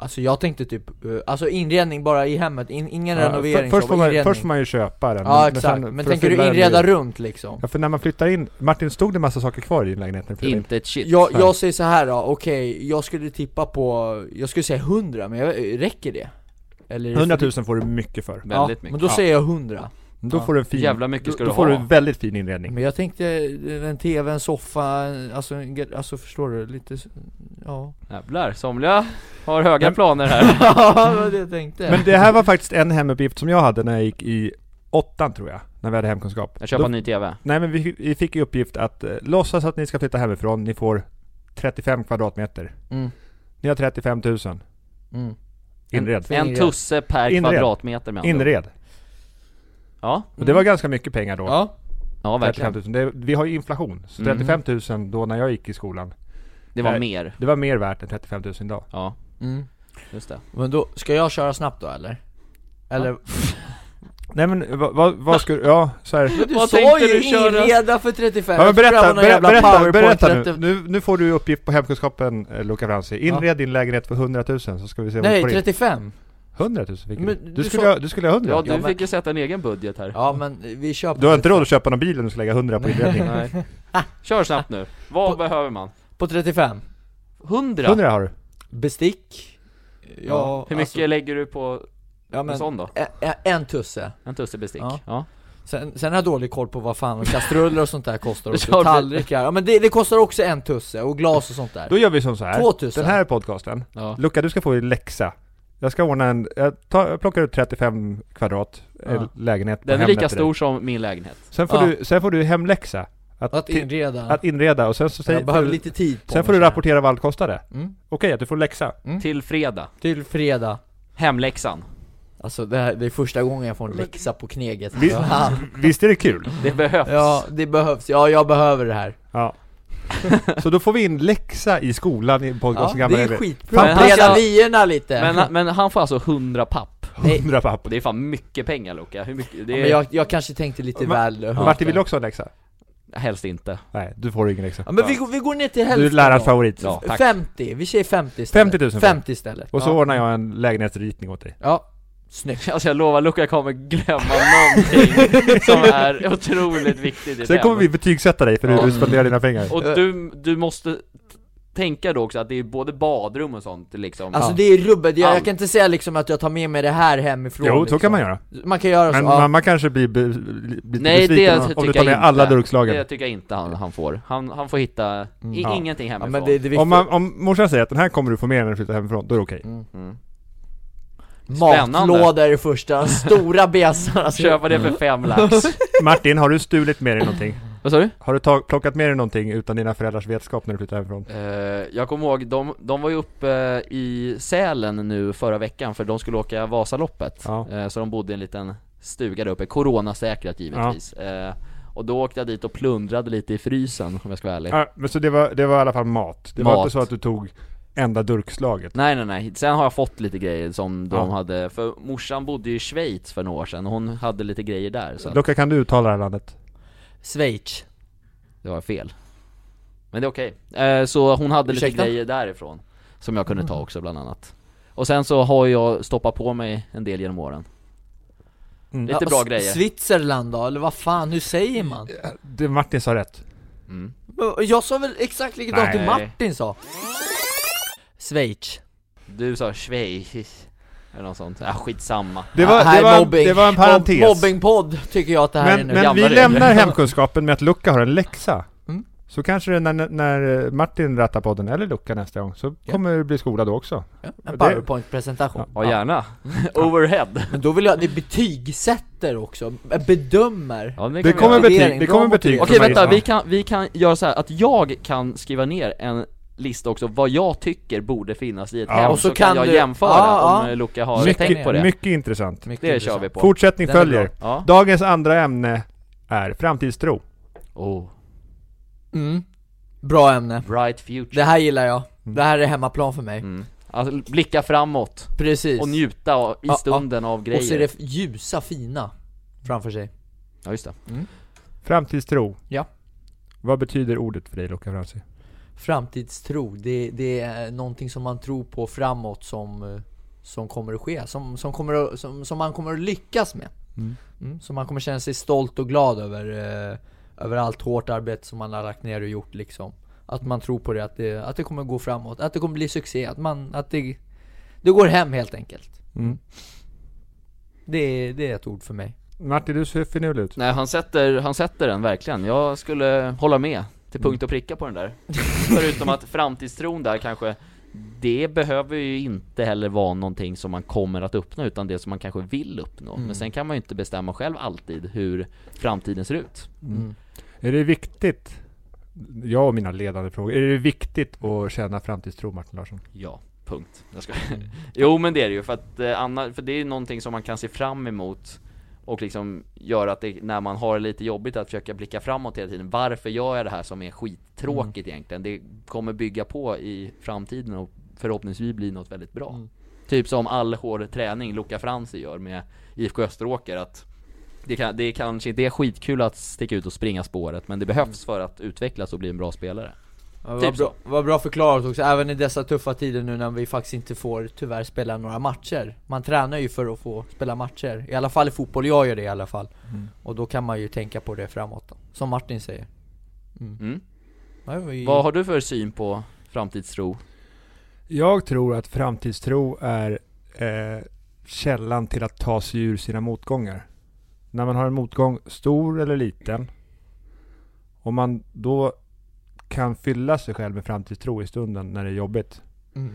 Speaker 3: Alltså jag tänkte typ, eh, alltså inredning bara i hemmet, in, ingen
Speaker 1: Ja,
Speaker 3: renovering
Speaker 1: för, först,
Speaker 3: så,
Speaker 1: får
Speaker 3: bara
Speaker 1: man,
Speaker 3: inredning
Speaker 1: först får man ju köpa den.
Speaker 3: Ja
Speaker 1: sen-
Speaker 3: exakt,
Speaker 1: för
Speaker 3: men
Speaker 1: att
Speaker 3: tänker du
Speaker 1: fylla den
Speaker 3: inreda
Speaker 1: med-
Speaker 3: runt liksom?
Speaker 1: Ja för när man flyttar in, Martin stod det massa saker kvar i din lägenhet när du flyttade in?
Speaker 2: Inte ett shit.
Speaker 3: Jag,
Speaker 1: Nej.
Speaker 3: jag säger så här då, okej, jag skulle tippa på, jag skulle säga 100, men jag, räcker det? Eller är det
Speaker 1: 100
Speaker 3: för-
Speaker 1: 000 får du mycket för.
Speaker 3: Ja,
Speaker 2: Väldigt mycket.
Speaker 3: men då
Speaker 1: Ja.
Speaker 3: säger jag 100
Speaker 1: Då
Speaker 3: Ja.
Speaker 1: får du en fin,
Speaker 2: Jävla mycket ska
Speaker 1: då,
Speaker 2: du
Speaker 1: då får du
Speaker 2: ha.
Speaker 1: en väldigt fin inredning.
Speaker 3: Men jag tänkte, eh, en tv, en soffa, alltså, en gre- alltså förstår du? Lite, s- ja
Speaker 2: Jävlar, somliga har höga planer här.
Speaker 3: Ja, det var det jag
Speaker 2: Mm.
Speaker 3: tänkte
Speaker 1: Men det här var faktiskt en hemuppgift som jag hade när jag gick i åttan tror jag, när vi hade hemkunskap.
Speaker 2: Jag köper
Speaker 1: Då-
Speaker 2: en ny TV.
Speaker 1: Nej men vi, vi fick i uppgift att eh, låtsas att ni ska flytta hemifrån, ni får 35 kvadratmeter.
Speaker 3: mm,
Speaker 1: Ni har 35 000.
Speaker 3: mm.
Speaker 1: Inred.
Speaker 2: En
Speaker 3: Inred.
Speaker 2: tusse per
Speaker 1: Inred.
Speaker 2: kvadratmeter med andra ord.
Speaker 1: Inred.
Speaker 2: Ja,
Speaker 1: Och det var ganska mycket pengar då.
Speaker 3: Ja,
Speaker 2: Mm. ja
Speaker 1: 35
Speaker 2: verkligen.
Speaker 1: 000. Det, vi har ju inflation. Så
Speaker 2: Mm.
Speaker 1: 35 000 då när jag gick i skolan,
Speaker 2: Det var
Speaker 1: Nej.
Speaker 2: mer.
Speaker 1: det var mer värt än 35 000 idag.
Speaker 2: Ja,
Speaker 3: mm.
Speaker 2: just det.
Speaker 3: men då, ska jag köra snabbt då eller? Eller?
Speaker 1: Nej men vad, vad, vad skulle, ja så här.
Speaker 3: Men Du
Speaker 2: Vad
Speaker 3: sa
Speaker 2: tänkte
Speaker 3: ju
Speaker 2: du köra?
Speaker 3: inreda för 35,
Speaker 1: Ja, men berätta, berätta, berätta, berätta
Speaker 3: nu
Speaker 1: nu. nu. Nu får du uppgift på hemkunskapen eh, Luca Franzi. Inred din lägenhet för 100 000 så ska vi se vad du
Speaker 3: Nej,
Speaker 1: får in.
Speaker 3: 35!
Speaker 1: 100 000 fick
Speaker 3: Men
Speaker 1: du.
Speaker 3: du
Speaker 1: Du skulle,
Speaker 3: sa-
Speaker 1: ha, du skulle ha 100.
Speaker 2: Ja, du
Speaker 3: Ja, men-
Speaker 2: fick ju sätta en egen budget här
Speaker 3: Ja men vi kör på
Speaker 1: Du har inte råd att köpa någon bil om du ska lägga 100 på inredning.
Speaker 2: Nej. Kör snabbt nu, vad
Speaker 3: På-
Speaker 2: behöver man?
Speaker 3: På 35
Speaker 2: 100?
Speaker 1: 100 har du.
Speaker 3: Bestick Ja, alltså-
Speaker 2: Hur mycket lägger du på
Speaker 3: ja,
Speaker 2: en
Speaker 3: men,
Speaker 2: sån då?
Speaker 3: ä- ä- en tusse
Speaker 2: En tussebestick?
Speaker 3: Ja.
Speaker 2: Ja.
Speaker 3: sen, sen har jag dålig koll på vad fan kastruller och sånt där kostar
Speaker 2: Ja,
Speaker 3: också,
Speaker 2: men-
Speaker 3: tallrikar, ja men det, det kostar också en tusse, och glas och sånt där
Speaker 1: Då gör vi som så här.
Speaker 3: 2000.
Speaker 1: Den här podcasten.
Speaker 2: Ja.
Speaker 1: Luca, du ska få i läxa. Jag ska ordna en, jag, tar, jag plockar ut 35 kvadrat eh,
Speaker 3: Ja.
Speaker 1: lägenhet på
Speaker 2: Den är
Speaker 1: Hemnet
Speaker 2: lika
Speaker 1: till dig.
Speaker 2: stor som min lägenhet
Speaker 1: Sen får,
Speaker 3: Ja.
Speaker 1: du, sen får du hemläxa. Att,
Speaker 3: Att
Speaker 1: ti-
Speaker 3: inreda,
Speaker 1: att inreda och sen så säger,
Speaker 3: jag behöver lite tid på
Speaker 1: Sen
Speaker 3: mig,
Speaker 1: får du
Speaker 3: känner jag.
Speaker 1: rapportera vad allt kostade.
Speaker 3: mm.
Speaker 1: Okej, att du får läxa.
Speaker 2: Till fredag,
Speaker 3: Till fredag
Speaker 2: hemläxan
Speaker 3: Alltså det, här, det är första gången jag får en läxa på kneget
Speaker 1: Vi-
Speaker 3: ja.
Speaker 1: Visst är det kul?
Speaker 2: Det behövs
Speaker 3: ja, det behövs, ja jag behöver det här
Speaker 1: Ja. Så då får vi in läxa i skolan i
Speaker 3: ja,
Speaker 1: podcasten
Speaker 3: Det
Speaker 1: Gamla
Speaker 3: är
Speaker 1: regler.
Speaker 3: skitbra,
Speaker 2: Men han
Speaker 3: breda
Speaker 2: ska-
Speaker 3: vyerna lite
Speaker 2: men, han- men han får alltså 100 papp,
Speaker 1: 100 papp.
Speaker 2: och det är fan mycket pengar Luca, hur mycket? Det
Speaker 3: Ja,
Speaker 2: är...
Speaker 3: men jag, jag kanske tänkte lite
Speaker 1: Ma-
Speaker 3: väl högt
Speaker 1: Martin vill
Speaker 3: där.
Speaker 1: du också ha en läxa?
Speaker 2: Helst inte
Speaker 1: Nej, du får ingen läxa.
Speaker 3: ja, men vi, går- vi går ner till
Speaker 1: Du är
Speaker 3: hälften
Speaker 1: lärarens
Speaker 3: då.
Speaker 1: favorit.
Speaker 2: Ja, tack
Speaker 3: 50, vi säger 50 istället
Speaker 1: 50 000 för.
Speaker 3: 50 istället
Speaker 1: Och så
Speaker 3: ja.
Speaker 1: ordnar jag en lägenhetsritning åt dig.
Speaker 3: ja, snyggt
Speaker 2: Alltså jag lovar, Luca kommer glömma någonting som är otroligt viktigt i
Speaker 1: Sen
Speaker 2: den.
Speaker 1: kommer vi betygsätta dig för hur
Speaker 2: Ja.
Speaker 1: du spenderar dina pengar.
Speaker 2: Och du, du måste t- tänka då också att det är både badrum och sånt liksom
Speaker 3: Alltså det är rubbet, jag, jag
Speaker 2: Allt.
Speaker 3: kan inte säga liksom att jag tar med mig det här hemifrån
Speaker 1: Jo, så
Speaker 3: liksom.
Speaker 1: kan man göra.
Speaker 3: Man kan göra
Speaker 1: Men
Speaker 3: så, ja.
Speaker 1: mamma kanske blir be, lite
Speaker 2: Alltså, Nej det
Speaker 1: besviken om-
Speaker 2: tycker
Speaker 1: om du tar
Speaker 2: jag
Speaker 1: med
Speaker 2: inte
Speaker 1: alla
Speaker 2: Det
Speaker 1: durkslagen.
Speaker 2: tycker jag inte han, han får, han, han får hitta i,
Speaker 1: Mm. Ja.
Speaker 2: ingenting
Speaker 3: ja
Speaker 2: hemifrån
Speaker 3: men det, det är
Speaker 1: Om, man, om morsan säger att den här kommer du få med när du flyttar hemifrån, då är det okej.
Speaker 2: Mm. Spännande.
Speaker 3: Matlåda är det första, stora besar alltså.
Speaker 2: Köpa det för
Speaker 1: Mm.
Speaker 2: fem lax
Speaker 1: Martin, har du stulit med dig någonting?
Speaker 2: Vad sa du?
Speaker 1: Har du tag, plockat med dig någonting utan dina föräldrars vetskap när du flyttar hemifrån?
Speaker 2: Eh, jag kommer ihåg, de, de var ju uppe i Sälen nu förra veckan för de skulle åka Vasaloppet
Speaker 1: Ja.
Speaker 2: Eh, Så de bodde i en liten stuga där uppe, coronasäkrat givetvis Eh, Och då åkte jag dit och plundrade lite i frysen om jag ska vara ärlig
Speaker 1: Ja, men så det var, det var i alla fall mat. Det var
Speaker 2: Mat.
Speaker 1: inte så att du tog enda durkslaget.
Speaker 2: Nej nej nej, sen har jag fått lite grejer som de
Speaker 1: Ja.
Speaker 2: hade, för morsan bodde ju i Schweiz för några år sedan och hon hade lite grejer där så att
Speaker 1: Luca, kan du uttala det här landet?
Speaker 3: Schweiz
Speaker 2: det var fel Men det är okej, eh, så hon hade lite
Speaker 3: Ursäkta?
Speaker 2: grejer därifrån Som jag kunde ta också bland annat Och sen så har jag stoppat på mig en del genom åren
Speaker 1: Mm.
Speaker 2: Lite
Speaker 3: Ja,
Speaker 2: bra
Speaker 3: S-
Speaker 2: grejer
Speaker 3: Switzerland då, eller vad fan, hur säger man?
Speaker 1: Det Martin sa rätt.
Speaker 2: mm.
Speaker 3: Men Jag sa väl exakt likadant som
Speaker 1: Nej.
Speaker 3: Martin sa Schweiz
Speaker 2: Du sa Schweiz eller något sånt, ah, skitsamma
Speaker 1: Det var,
Speaker 3: Ja, här
Speaker 1: det
Speaker 3: är
Speaker 1: var, en,
Speaker 3: mobbing.
Speaker 1: det var en
Speaker 3: Mob-
Speaker 1: parentes.
Speaker 3: Mobbingpodd tycker jag att det här
Speaker 1: men
Speaker 3: är nu
Speaker 1: men vi
Speaker 2: Gamla
Speaker 1: lämnar hemkunskapen med att Luca har en läxa.
Speaker 3: Mm.
Speaker 1: Så kanske det när, när eh, Martin rattar podden, eller Luca nästa gång, så
Speaker 3: Ja.
Speaker 1: kommer det bli skola då också.
Speaker 3: Ja,
Speaker 1: det-
Speaker 3: En powerpoint-presentation
Speaker 2: Ja gärna, overhead
Speaker 3: Men då vill jag att ni betygsätter också, bedömer
Speaker 2: ja,
Speaker 1: Det
Speaker 2: vi göra.
Speaker 1: kommer betyg,
Speaker 3: Motivering,
Speaker 1: det
Speaker 3: bra
Speaker 1: kommer betyg från
Speaker 2: Okej
Speaker 3: motivering.
Speaker 1: Marisa.
Speaker 2: vänta, vi kan, vi kan göra så här att jag kan skriva ner en lista också vad jag tycker borde finnas i ett
Speaker 1: Ja.
Speaker 2: hem,
Speaker 3: Och
Speaker 2: och
Speaker 3: så
Speaker 2: så,
Speaker 3: kan
Speaker 2: kan jag
Speaker 3: du-
Speaker 2: jämföra
Speaker 3: ja, ja.
Speaker 2: om Luca har
Speaker 3: Mycket-
Speaker 2: tänkt på det.
Speaker 1: Mycket intressant.
Speaker 3: Mycket
Speaker 2: det kör
Speaker 3: intressant.
Speaker 2: vi på.
Speaker 1: Fortsättning
Speaker 3: Den är
Speaker 1: följer.
Speaker 3: bra.
Speaker 2: Ja.
Speaker 1: Dagens andra ämne är framtidstro.
Speaker 2: Oh,
Speaker 3: mm. Bra ämne,
Speaker 2: bright future.
Speaker 3: det här gillar jag,
Speaker 1: Mm.
Speaker 3: det här är hemmaplan för mig
Speaker 2: Mm. Alltså blicka framåt
Speaker 3: Precis,
Speaker 2: och njuta av, i
Speaker 3: Ja,
Speaker 2: stunden av
Speaker 3: och så är
Speaker 2: grejer.
Speaker 3: det ljusa fina framför sig
Speaker 2: Ja just det.
Speaker 1: Framtidstro.
Speaker 3: Ja.
Speaker 1: Vad betyder ordet för dig Luca Franzi?
Speaker 3: Framtidstro, det, det är någonting som man tror på framåt som, eh, som kommer att ske, som, som, kommer att, som, som man kommer att lyckas med.
Speaker 1: Mm.
Speaker 3: Mm, som man kommer känna sig stolt och glad över, eh, över allt hårt arbete som man har lagt ner och gjort liksom. Att man tror på det, att det, att det kommer gå framåt, att det kommer bli succé, att, man, att det, det går hem helt enkelt.
Speaker 1: Mm.
Speaker 3: Det, är- det är ett ord för mig.
Speaker 1: Martin, du ser finurlig ut.
Speaker 2: Nej han sätter, han sätter den verkligen. Jag skulle hålla med till punkt och pricka på den där. Förutom att framtidstron där kanske det behöver ju inte heller vara någonting som man kommer att uppnå utan det som man kanske vill uppnå. Men sen kan man ju inte bestämma själv alltid hur framtiden ser ut.
Speaker 1: Mm.
Speaker 3: Mm.
Speaker 1: Är det viktigt, jag och mina ledande frågor, är det viktigt att känna framtidstro Martin Larsson?
Speaker 2: Ja, punkt. Jag ska. Jo men det är det ju för att eh, anna, för det är ju någonting som man kan se fram emot och liksom göra att det, när man har det lite jobbigt att försöka blicka framåt hela tiden. Varför gör jag det här som är skittråkigt egentligen? Det kommer bygga på i framtiden och förhoppningsvis bli något väldigt bra. Typ som all hård träning Luca Franzi gör med IFK Österåker att Det, kan, det, är kanske, det är skitkul att sticka ut och springa spåret, men det behövs för att utvecklas och bli en bra spelare.
Speaker 3: Ja, vad,
Speaker 2: Typ
Speaker 3: bra, vad bra förklarat också, även i dessa tuffa tider nu när vi faktiskt inte får tyvärr spela några matcher Man tränar ju för att få spela matcher, i alla fall i fotboll, jag gör det i alla fall
Speaker 1: Mm.
Speaker 3: Och då kan man ju tänka på det framåt då. Som Martin säger
Speaker 2: Mm.
Speaker 3: ja, vi,
Speaker 2: Vad har du för syn på framtidstro?
Speaker 1: Jag tror att framtidstro är eh, källan till att ta sig ur sina motgångar. När man har en motgång, stor eller liten, om man då kan fylla sig själv med framtidstro i stunden när det är jobbigt,
Speaker 3: mm.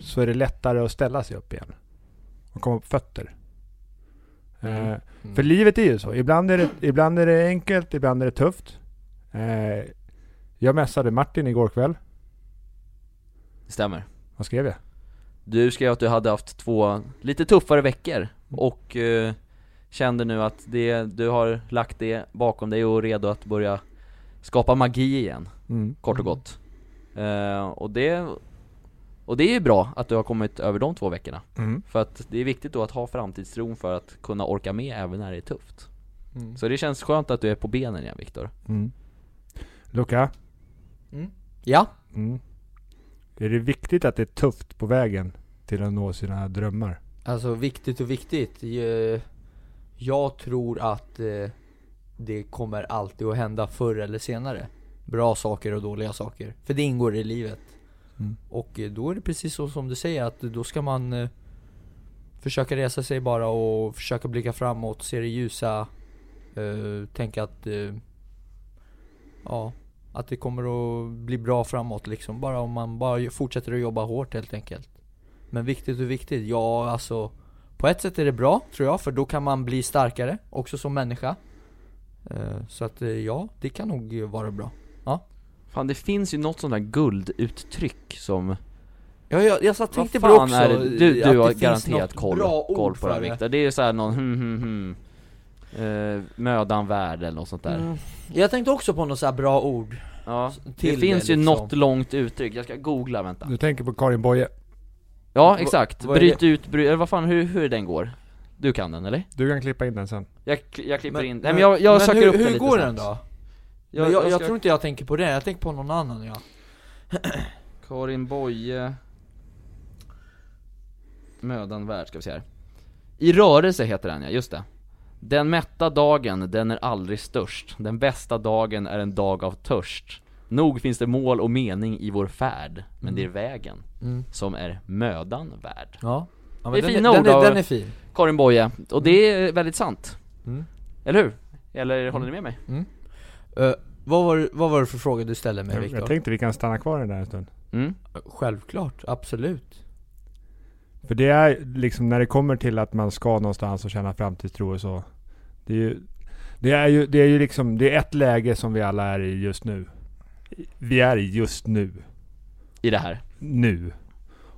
Speaker 1: så är det lättare att ställa sig upp igen. Och komma på fötter. Eh,
Speaker 3: Mm.
Speaker 1: för livet är ju så. Ibland är det, ibland är det enkelt, ibland är det tufft. Eh, jag mässade Martin igår kväll.
Speaker 2: Det stämmer.
Speaker 1: Vad skrev jag?
Speaker 2: Du skrev att du hade haft två lite tuffare veckor och eh, kände nu att det, du har lagt det bakom dig och är redo att börja skapa magi igen,
Speaker 1: Mm.
Speaker 2: kort och
Speaker 3: Mm.
Speaker 2: gott. Eh, och, det, och det är ju bra att du har kommit över de två veckorna.
Speaker 1: Mm.
Speaker 2: För att det är viktigt då att ha framtidstron för att kunna orka med även när det är tufft.
Speaker 3: Mm.
Speaker 2: Så det känns skönt att du är på benen igen Viktor.
Speaker 1: Mm. Luca,
Speaker 3: Ja,
Speaker 1: mm. är det viktigt att det är tufft på vägen till att nå sina drömmar?
Speaker 3: alltså viktigt och viktigt Eh, Jag tror att eh, det kommer alltid att hända förr eller senare Bra saker och dåliga saker, för det ingår i livet
Speaker 1: Mm.
Speaker 3: Och eh, då är det precis så som du säger att då ska man eh, Försöka resa sig bara och försöka blicka framåt, se det ljusa eh, Tänka att eh, Ja, att det kommer att bli bra framåt liksom Bara om man bara fortsätter att jobba hårt helt enkelt Men viktigt och viktigt, ja alltså På ett sätt är det bra tror jag för då kan man bli starkare också som människa Eh, Så att eh, ja, det kan nog eh, vara bra
Speaker 2: Fan det finns ju något sånt där gulduttryck som
Speaker 3: Ja, jag, jag satt, tänkte
Speaker 2: Vad
Speaker 3: på det
Speaker 2: fan
Speaker 3: också,
Speaker 2: är det? Du,
Speaker 3: att
Speaker 2: du har
Speaker 3: det finns
Speaker 2: garanterat
Speaker 3: något
Speaker 2: koll,
Speaker 3: bra ord
Speaker 2: koll på det här,
Speaker 3: för
Speaker 2: Viktor. Det är ju såhär någon hmm hmm hmm eh, Mödan värd eller något sånt där
Speaker 3: Mm. Jag tänkte också på något så här bra ord
Speaker 2: Ja, det
Speaker 3: till
Speaker 2: finns
Speaker 3: det,
Speaker 2: ju
Speaker 3: liksom.
Speaker 2: något långt uttryck, jag ska googla vänta
Speaker 1: Du tänker på Karin Boye.
Speaker 2: Ja exakt,
Speaker 3: vad är
Speaker 2: bryt ut, bry, eller vad fan hur, hur den går? Du kan den eller?
Speaker 1: Du kan klippa in den sen.
Speaker 2: Jag, kli- jag klipper in, nej men jag, jag söker
Speaker 3: hur,
Speaker 2: upp
Speaker 3: hur
Speaker 2: den lite
Speaker 3: går den
Speaker 2: snabbt.
Speaker 3: då? Jag,
Speaker 2: Jag,
Speaker 3: men jag, jag,
Speaker 2: ska-
Speaker 3: tror inte jag tänker på den, jag tänker på någon annan ja
Speaker 2: Karin Boye Mödan värd, ska vi se här I rörelse heter den ja, just det Den mätta dagen, den är aldrig störst Den bästa dagen är en dag av törst Nog finns det mål och mening i vår färd Men det är vägen
Speaker 3: Mm.
Speaker 2: som är mödan värd
Speaker 3: Ja, ja men
Speaker 2: Det är
Speaker 3: den,
Speaker 2: fina
Speaker 3: den,
Speaker 2: ord
Speaker 3: den,
Speaker 2: av-
Speaker 3: den är fin
Speaker 2: Karin Boye, och det är väldigt sant
Speaker 3: Mm.
Speaker 2: Eller hur? Eller håller ni med mig?
Speaker 3: Eh, vad, var, det- vad var det för fråga du ställde mig
Speaker 1: Jag, jag
Speaker 3: Viktor?
Speaker 1: tänkte vi kan stanna kvar i den där en stund.
Speaker 2: Mm.
Speaker 3: Självklart, absolut
Speaker 1: För det är liksom när det kommer till att man ska någonstans och känna framtidstro och så. Det är ju, det är ju, det är ju liksom, det är ett läge som vi alla är i just nu. Vi är i just nu.
Speaker 2: I det här
Speaker 1: Nu.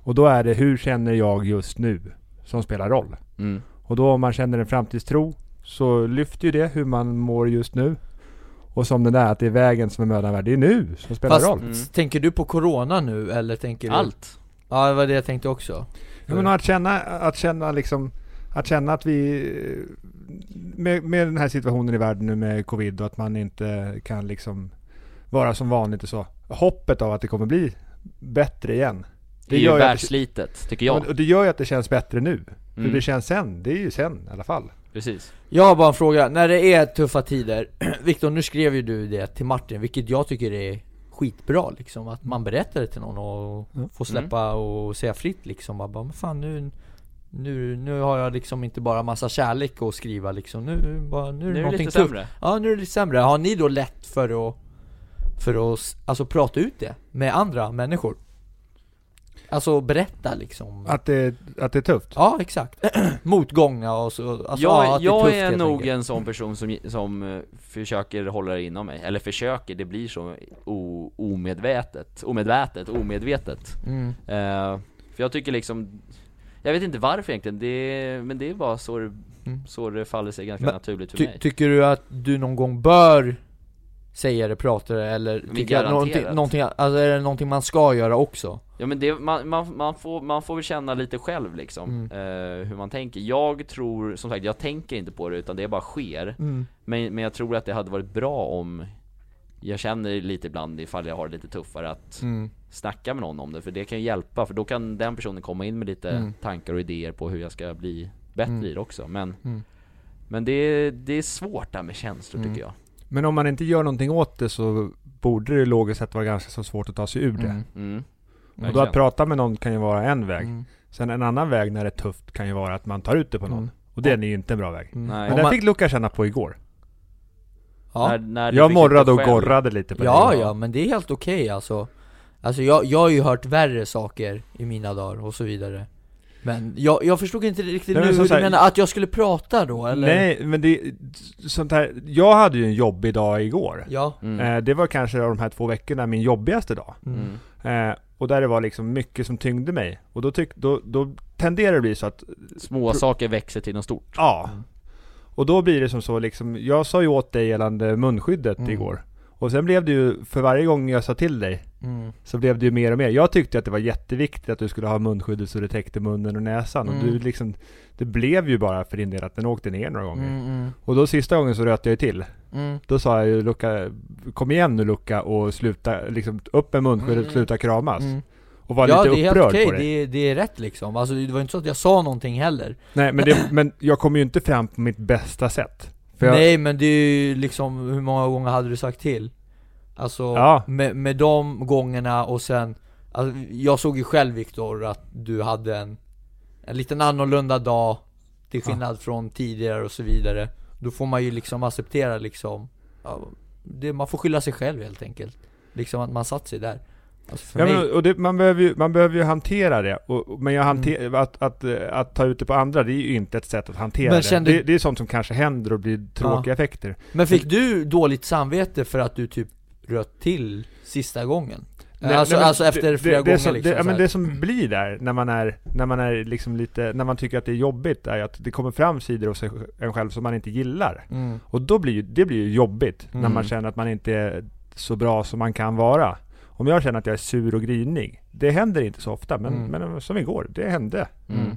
Speaker 1: Och då är det hur känner jag just nu? Som spelar roll.
Speaker 2: mm.
Speaker 1: Och då om man känner en framtidstro så lyfter ju det hur man mår just nu. Och som den där att det är vägen som är mödan värd. Det är nu som spelar
Speaker 3: Fast
Speaker 1: roll.
Speaker 2: Mm.
Speaker 3: tänker du på Corona nu eller tänker du?
Speaker 2: Allt!
Speaker 3: Ja det var det jag tänkte också
Speaker 1: Ja, men att känna, att känna liksom, att känna att vi eh, med, med den här situationen i världen nu med covid och att man inte kan liksom vara som vanligt och så. Hoppet av att det kommer bli bättre igen.
Speaker 2: Det är
Speaker 1: gör
Speaker 2: ju
Speaker 1: ju att-
Speaker 2: världslitet, tycker jag
Speaker 1: Och det gör ju att det känns bättre nu. Hur
Speaker 2: Mm.
Speaker 1: det känns sen, det är ju sen i alla fall.
Speaker 2: Precis
Speaker 3: Jag har bara en fråga, när det är tuffa tider, Viktor nu skrev ju du det till Martin, vilket jag tycker är skitbra liksom, att man berättar det till någon och
Speaker 1: Mm.
Speaker 3: får släppa och säga fritt liksom, man bara, men fan nu, nu, nu har jag liksom inte bara massa kärlek att skriva liksom, nu, bara, nu är det
Speaker 2: Nu är det
Speaker 3: någonting
Speaker 2: lite
Speaker 3: tufft
Speaker 2: sämre
Speaker 3: Ja nu är det lite sämre, har ni då lätt för att, för att s- alltså, prata ut det med andra människor? Alltså berätta liksom
Speaker 1: Att det, att det är tufft.
Speaker 3: Ja exakt, motgångar och så, alltså,
Speaker 2: jag
Speaker 3: ja, att det
Speaker 2: jag
Speaker 3: tufft,
Speaker 2: är
Speaker 3: helt
Speaker 2: nog
Speaker 3: enkelt.
Speaker 2: en sån person som, som eh, försöker hålla det inom mig, eller försöker, det blir så o, omedvetet, omedvetet, omedvetet
Speaker 3: mm.
Speaker 2: Eh, För jag tycker liksom, jag vet inte varför egentligen, det, men det är bara så det,
Speaker 3: Mm.
Speaker 2: så det faller sig ganska
Speaker 3: Men
Speaker 2: naturligt för
Speaker 3: Ty,
Speaker 2: mig
Speaker 3: tycker du att du någon gång bör säger, pratar eller tycker att
Speaker 2: garanterat.
Speaker 3: någonting, någonting, alltså är det någonting man ska göra också?
Speaker 2: Ja men det, man, man, man, får, man får väl känna lite själv liksom,
Speaker 3: Mm.
Speaker 2: eh, hur man tänker. Jag tror, som sagt, jag tänker inte på det utan det bara sker.
Speaker 3: Mm.
Speaker 2: Men, men jag tror att det hade varit bra om jag känner lite ibland ifall jag har det lite tuffare att
Speaker 3: Mm.
Speaker 2: snacka med någon om det, för det kan ju hjälpa, för då kan den personen komma in med lite
Speaker 3: Mm.
Speaker 2: tankar och idéer på hur jag ska bli bättre
Speaker 3: Mm.
Speaker 2: i det också. Men,
Speaker 3: Mm.
Speaker 2: men det, är- det är svårt där med känslor
Speaker 3: Mm.
Speaker 2: tycker jag.
Speaker 1: Men om man inte gör någonting åt det så borde det logiskt sett vara ganska så svårt att ta sig ur det.
Speaker 3: Mm.
Speaker 2: Mm.
Speaker 1: Och då
Speaker 2: verkligen.
Speaker 1: att prata med någon kan ju vara en väg.
Speaker 3: Mm.
Speaker 1: Sen en annan väg när det är tufft kan ju vara att man tar ut det på någon.
Speaker 3: Mm.
Speaker 1: Och det är ju inte en bra väg.
Speaker 3: Mm.
Speaker 2: Nej.
Speaker 1: Men
Speaker 3: Om
Speaker 1: den
Speaker 3: man-
Speaker 1: fick Luca känna på igår.
Speaker 3: Ja.
Speaker 2: När, när du
Speaker 1: Jag
Speaker 2: fick lite
Speaker 1: morrade och
Speaker 2: skäll.
Speaker 1: gorrade lite på
Speaker 3: Ja,
Speaker 1: det.
Speaker 3: ja, men det är helt okej alltså Alltså jag, jag har ju hört värre saker i mina dagar och så vidare Men jag, jag förstod inte
Speaker 1: Nej,
Speaker 3: riktigt nu
Speaker 1: men
Speaker 3: hur
Speaker 1: som
Speaker 3: du
Speaker 1: så här-
Speaker 3: menar, att jag skulle prata då eller?
Speaker 1: Nej, men det sånt här. Jag hade ju en jobbig dag igår.
Speaker 3: Ja
Speaker 2: Mm.
Speaker 1: Eh, Det var kanske av de här två veckorna min jobbigaste dag.
Speaker 2: Mm.
Speaker 1: Eh, Och där det var liksom mycket som tyngde mig. Och då, tyck, då, då tenderar det att bli så att,
Speaker 2: Små saker växer till något stort.
Speaker 1: ja.
Speaker 3: Mm.
Speaker 1: Och då blir det som så liksom, jag sa ju åt dig gällande munskyddet
Speaker 3: Mm.
Speaker 1: igår. Och sen blev det ju, för varje gång jag sa till dig,
Speaker 3: Mm.
Speaker 1: så blev det ju mer och mer. Jag tyckte att det var jätteviktigt att du skulle ha munskyddet så det täckte munnen och näsan. Och
Speaker 3: Mm.
Speaker 1: du liksom, det blev ju bara för din del att den åkte ner några gånger.
Speaker 3: Mm, mm,
Speaker 1: Och då sista gången så röt jag ju till.
Speaker 3: mm.
Speaker 1: Då sa jag ju Luca, kom igen nu Luca och sluta, liksom upp med munskyddet och
Speaker 3: Mm.
Speaker 1: sluta kramas.
Speaker 3: Mm.
Speaker 1: Och var
Speaker 3: Ja det är
Speaker 1: lite
Speaker 3: helt
Speaker 1: upprörd
Speaker 3: okej,
Speaker 1: på dig.
Speaker 3: det, är- det är rätt liksom, alltså det var inte så att jag sa någonting heller
Speaker 1: Nej men, det, men jag kom ju inte fram på mitt bästa sätt. För jag,
Speaker 3: Nej men det är ju liksom, hur många gånger hade du sagt till? Alltså,
Speaker 1: Ja.
Speaker 3: med, med de gångerna och sen alltså, Jag såg ju själv Viktor att du hade en, en liten annorlunda dag Till skillnad från tidigare och så vidare Då får man ju liksom acceptera liksom ja, det, Man får skylla sig själv helt enkelt Liksom att man satt sig där alltså, för
Speaker 1: ja,
Speaker 3: mig,
Speaker 1: men, och det, man, behöver ju, man behöver ju hantera det. Och, och- men jag hanter,
Speaker 3: Mm.
Speaker 1: att, att, eh, att ta ut det på andra, det är ju inte ett sätt att hantera
Speaker 3: Men
Speaker 1: det.
Speaker 3: kände-
Speaker 1: det. Det är sånt som kanske händer och blir tråkiga effekter.
Speaker 3: men fick du dåligt samvete för att du typ röt till sista gången?
Speaker 1: Nej,
Speaker 3: alltså,
Speaker 1: nej, men
Speaker 3: alltså efter
Speaker 1: det,
Speaker 3: flera
Speaker 1: det,
Speaker 3: gånger
Speaker 1: det som,
Speaker 3: liksom
Speaker 1: det, ja,
Speaker 3: så
Speaker 1: men
Speaker 3: här.
Speaker 1: det som blir där, när man är, när man är liksom lite, när man tycker att det är jobbigt, är ju att det kommer fram sidor hos sig- en själv som man inte gillar.
Speaker 3: mm.
Speaker 1: Och då blir ju, det blir ju jobbigt, när
Speaker 3: Mm.
Speaker 1: man känner att man inte är så bra som man kan vara. Om jag känner att jag är sur och grinig, det händer inte så ofta, men,
Speaker 3: Mm.
Speaker 1: men som igår, det hände.
Speaker 2: Mm.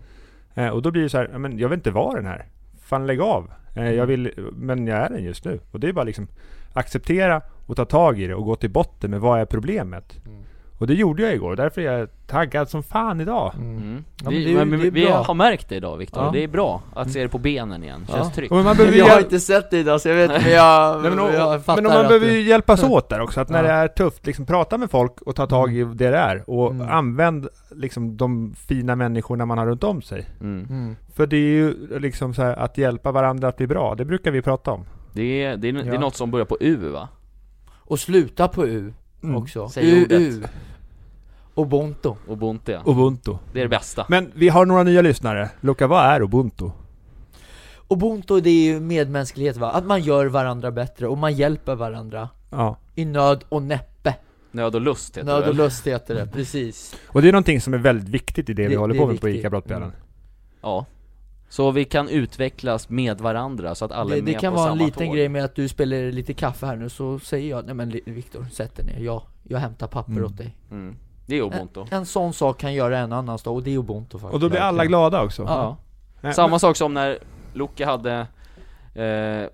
Speaker 1: Eh, och då blir det så här, ja, men jag vill inte vara den här. Fan lägg av. Eh,
Speaker 3: Mm.
Speaker 1: jag vill, men jag är den just nu. Och det är bara liksom acceptera och ta tag i det och gå till botten med vad är problemet.
Speaker 3: Mm.
Speaker 1: Och det gjorde jag igår, därför är jag taggad som fan idag.
Speaker 3: Mm.
Speaker 2: Mm.
Speaker 3: Ja, men det är
Speaker 2: vi
Speaker 3: ju-
Speaker 2: men
Speaker 3: det är
Speaker 2: vi
Speaker 3: bra.
Speaker 2: har märkt det idag Viktor,
Speaker 3: Ja. Mm.
Speaker 2: det är bra att se det på benen igen, känns
Speaker 3: Ja.
Speaker 2: tryggt.
Speaker 1: Och man behöver ju
Speaker 3: Jag har
Speaker 1: hjäl-
Speaker 3: inte sett dig idag så jag vet men jag,
Speaker 1: Nej, men, och,
Speaker 3: jag fattar
Speaker 1: men om man
Speaker 3: att
Speaker 1: behöver
Speaker 3: du...
Speaker 1: ju hjälpas åt där också, att när
Speaker 3: Ja.
Speaker 1: det är tufft, liksom prata med folk och ta tag i det det är. Och
Speaker 3: Mm.
Speaker 1: använd liksom de fina människorna man har runt om sig.
Speaker 2: Mm.
Speaker 3: Mm.
Speaker 1: För det är ju liksom så här, att hjälpa varandra att bli bra, det brukar vi prata om.
Speaker 2: Det, är, det, är, det
Speaker 3: Ja.
Speaker 2: är något som börjar på U va?
Speaker 3: Och sluta på U
Speaker 1: Mm.
Speaker 3: också
Speaker 2: Säg ordet.
Speaker 3: Och Bonto
Speaker 2: Ubuntu ja.
Speaker 1: Ubuntu.
Speaker 2: Det är det bästa.
Speaker 1: Men vi har några nya lyssnare. Luca, vad är ubuntu?
Speaker 3: Och Bonto det är ju medmänsklighet va? Att man gör varandra bättre och man hjälper varandra
Speaker 1: Ja.
Speaker 3: I nöd och näppe
Speaker 2: Nöd och lust heter
Speaker 3: Nöd
Speaker 2: det
Speaker 3: och
Speaker 2: väl?
Speaker 3: lust heter det, precis
Speaker 1: Och det är någonting som är väldigt viktigt i det, vi
Speaker 3: Det-
Speaker 1: håller
Speaker 3: det
Speaker 1: på
Speaker 3: är
Speaker 1: med på
Speaker 3: viktigt. Mm.
Speaker 1: ICA Brottbjörnen.
Speaker 2: Ja. Så vi kan utvecklas med varandra så att alla
Speaker 3: Det,
Speaker 2: är med
Speaker 3: det kan
Speaker 2: på
Speaker 3: vara en
Speaker 2: samma
Speaker 3: liten
Speaker 2: tåg.
Speaker 3: grej med att du spelar lite kaffe här nu så säger jag Nej men Li- Viktor, sätt dig ner, jag, jag hämtar papper
Speaker 1: Mm.
Speaker 3: åt dig
Speaker 2: Mm. Det är Ubuntu.
Speaker 3: En sån sak kan göra en annans dag och det är Ubuntu faktiskt
Speaker 1: Och då blir alla glada också.
Speaker 2: Ja.
Speaker 1: Nej,
Speaker 2: Samma sak som när Loke hade Eh,
Speaker 3: Ja,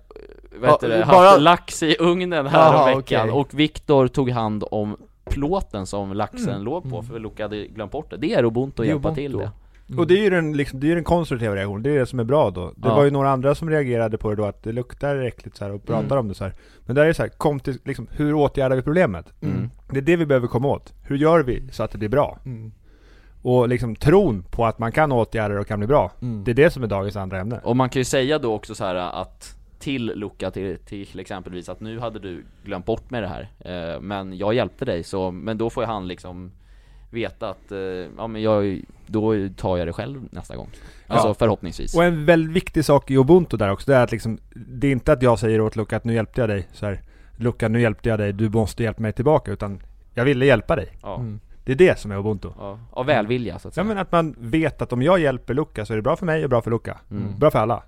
Speaker 2: vet du det,
Speaker 3: Eh, bara-
Speaker 2: haft lax i ugnen här
Speaker 3: Jaha,
Speaker 2: om veckan
Speaker 3: okej.
Speaker 2: och Viktor tog hand om plåten som laxen låg på
Speaker 3: Mm.
Speaker 2: för Loke hade glömt bort det. Det är Ubuntu
Speaker 3: Det
Speaker 2: att
Speaker 3: är
Speaker 2: hjälpa
Speaker 3: Ubuntu.
Speaker 2: till det.
Speaker 1: men- Och det är ju den, liksom, det är ju den konstruktiva reaktionen, det är det som är bra då. Det
Speaker 2: Ja.
Speaker 1: var ju några andra som reagerade på det då, att det luktar äckligt så här och pratar
Speaker 2: Mm.
Speaker 1: om det så här. Men där är det så här, kom till, liksom, hur åtgärdar vi problemet?
Speaker 2: Mm.
Speaker 1: Det är det vi behöver komma åt. Hur gör vi så att det blir bra?
Speaker 3: Mm.
Speaker 1: Och liksom tron på att man kan åtgärda det och kan bli bra.
Speaker 3: Mm.
Speaker 1: Det är det som är dagens andra ämne.
Speaker 2: Och man kan ju säga då också så här att till Luca till, till exempelvis att nu hade du glömt bort med det här eh, Men jag hjälpte dig så, men då får ju han liksom Veta att, eh, ja men jag, då tar jag det själv nästa gång Alltså
Speaker 1: Ja.
Speaker 2: förhoppningsvis
Speaker 1: Och en väldigt viktig sak i Ubuntu där också, det är att liksom, det är inte att jag säger åt Luca att nu hjälpte jag dig, så här, Luca nu hjälpte jag dig, du måste hjälpa mig tillbaka, utan jag ville hjälpa dig.
Speaker 2: ja.
Speaker 3: Mm.
Speaker 1: Det är det som är Ubuntu.
Speaker 2: ja, av välvilja så att
Speaker 1: Ja
Speaker 2: säga
Speaker 1: men att man vet att om jag hjälper Luca så är det bra för mig och bra för Luca.
Speaker 2: Mm.
Speaker 1: Bra för alla.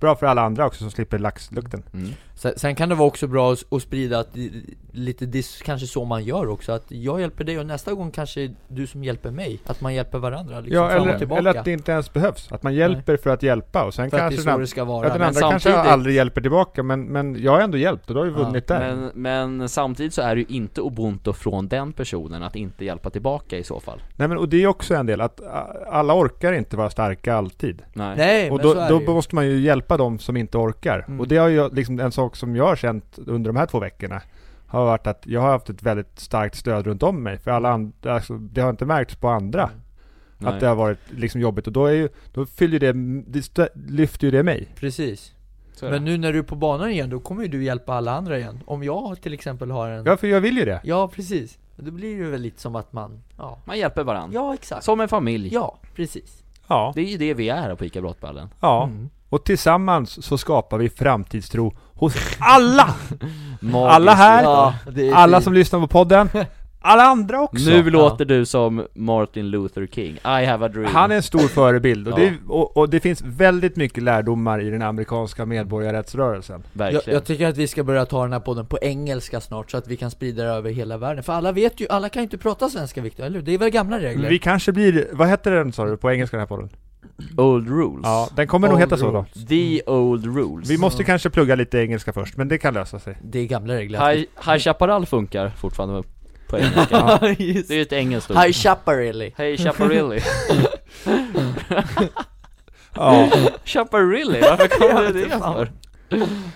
Speaker 1: Bra för alla andra också som slipper laxlukten.
Speaker 3: Liksom
Speaker 2: Mm.
Speaker 3: Sen, sen kan det vara också bra att, att sprida att, i- lite diss, kanske så man gör också, att jag hjälper dig och nästa gång kanske du som hjälper mig, att man hjälper varandra liksom
Speaker 1: ja,
Speaker 3: fram och
Speaker 1: eller,
Speaker 3: tillbaka.
Speaker 1: eller att det inte ens behövs. Att man hjälper för att hjälpa och sen
Speaker 3: för att det är
Speaker 1: kanske
Speaker 3: så
Speaker 1: den,
Speaker 3: det ska
Speaker 1: att den
Speaker 3: vara.
Speaker 1: andra
Speaker 3: Men,
Speaker 2: Men
Speaker 1: kanske
Speaker 2: samtidigt-
Speaker 1: aldrig hjälper tillbaka men, men jag har ändå hjälpt och då har vi
Speaker 3: Ja,
Speaker 1: vunnit där.
Speaker 2: Men, men samtidigt så är det ju inte ubuntu från den personen att inte hjälpa tillbaka i så fall
Speaker 1: Nej men och det är också en del att a- alla orkar inte vara starka alltid.
Speaker 2: Nej,
Speaker 3: nej,
Speaker 1: och
Speaker 3: men
Speaker 1: då,
Speaker 3: så är
Speaker 1: då
Speaker 3: det ju.
Speaker 1: måste man ju hjälpa de som inte orkar.
Speaker 3: Mm.
Speaker 1: Och det har ju liksom en sak som jag har känt under de här två veckorna. Har varit att jag har haft ett väldigt starkt stöd runt om mig. För alla andra, alltså, det har inte märkts på andra.
Speaker 2: nej.
Speaker 1: Att det har varit liksom jobbigt. Och då, är ju, då fyller ju det, det stö, lyfter ju det mig.
Speaker 3: Precis.
Speaker 2: Så är det.
Speaker 3: Men nu när du är på banan igen, då kommer ju du hjälpa alla andra igen. Om jag till exempel har en...
Speaker 1: Ja, för jag vill ju det.
Speaker 3: Ja, precis. Då blir det väl lite som att man, ja.
Speaker 2: Man hjälper varandra,
Speaker 3: Ja,
Speaker 1: Alltså,
Speaker 3: exakt.
Speaker 2: som en familj
Speaker 3: Ja, precis.
Speaker 1: Ja.
Speaker 2: Det är ju det vi är här på ICA Brottballen
Speaker 1: ja.
Speaker 3: Mm.
Speaker 1: Och tillsammans så skapar vi framtidstro hos alla!
Speaker 2: Magiskt.
Speaker 1: Alla här,
Speaker 3: Ja, det är
Speaker 1: alla
Speaker 3: fint.
Speaker 1: som lyssnar på podden, alla andra också!
Speaker 2: Nu låter du som Martin Luther King, I have a dream
Speaker 1: Han är en stor förebild och,
Speaker 2: Ja.
Speaker 1: det, och, och det finns väldigt mycket lärdomar i den amerikanska medborgarrättsrörelsen.
Speaker 2: Verkligen
Speaker 3: jag, jag tycker att vi ska börja ta den här podden på engelska snart så att vi kan sprida det över hela världen. För alla vet ju, alla kan ju inte prata svenska Viktor, eller hur? Det är väl gamla regler?
Speaker 1: Vi kanske blir, vad heter den sa du på engelska den här podden?
Speaker 2: Old rules
Speaker 1: Ja, den kommer nog
Speaker 3: Old
Speaker 1: heta så då.
Speaker 3: rules.
Speaker 2: The old rules
Speaker 1: Vi måste kanske plugga lite engelska först, men det kan lösa sig.
Speaker 3: Det är gamla regler.
Speaker 2: High, High Chaparral funkar fortfarande på engelska Det är ju ett engelskt ord
Speaker 3: High Chaparral.
Speaker 2: Hej Chaparrilli
Speaker 1: Ja.
Speaker 2: Chaparrilli, varför kom du det för?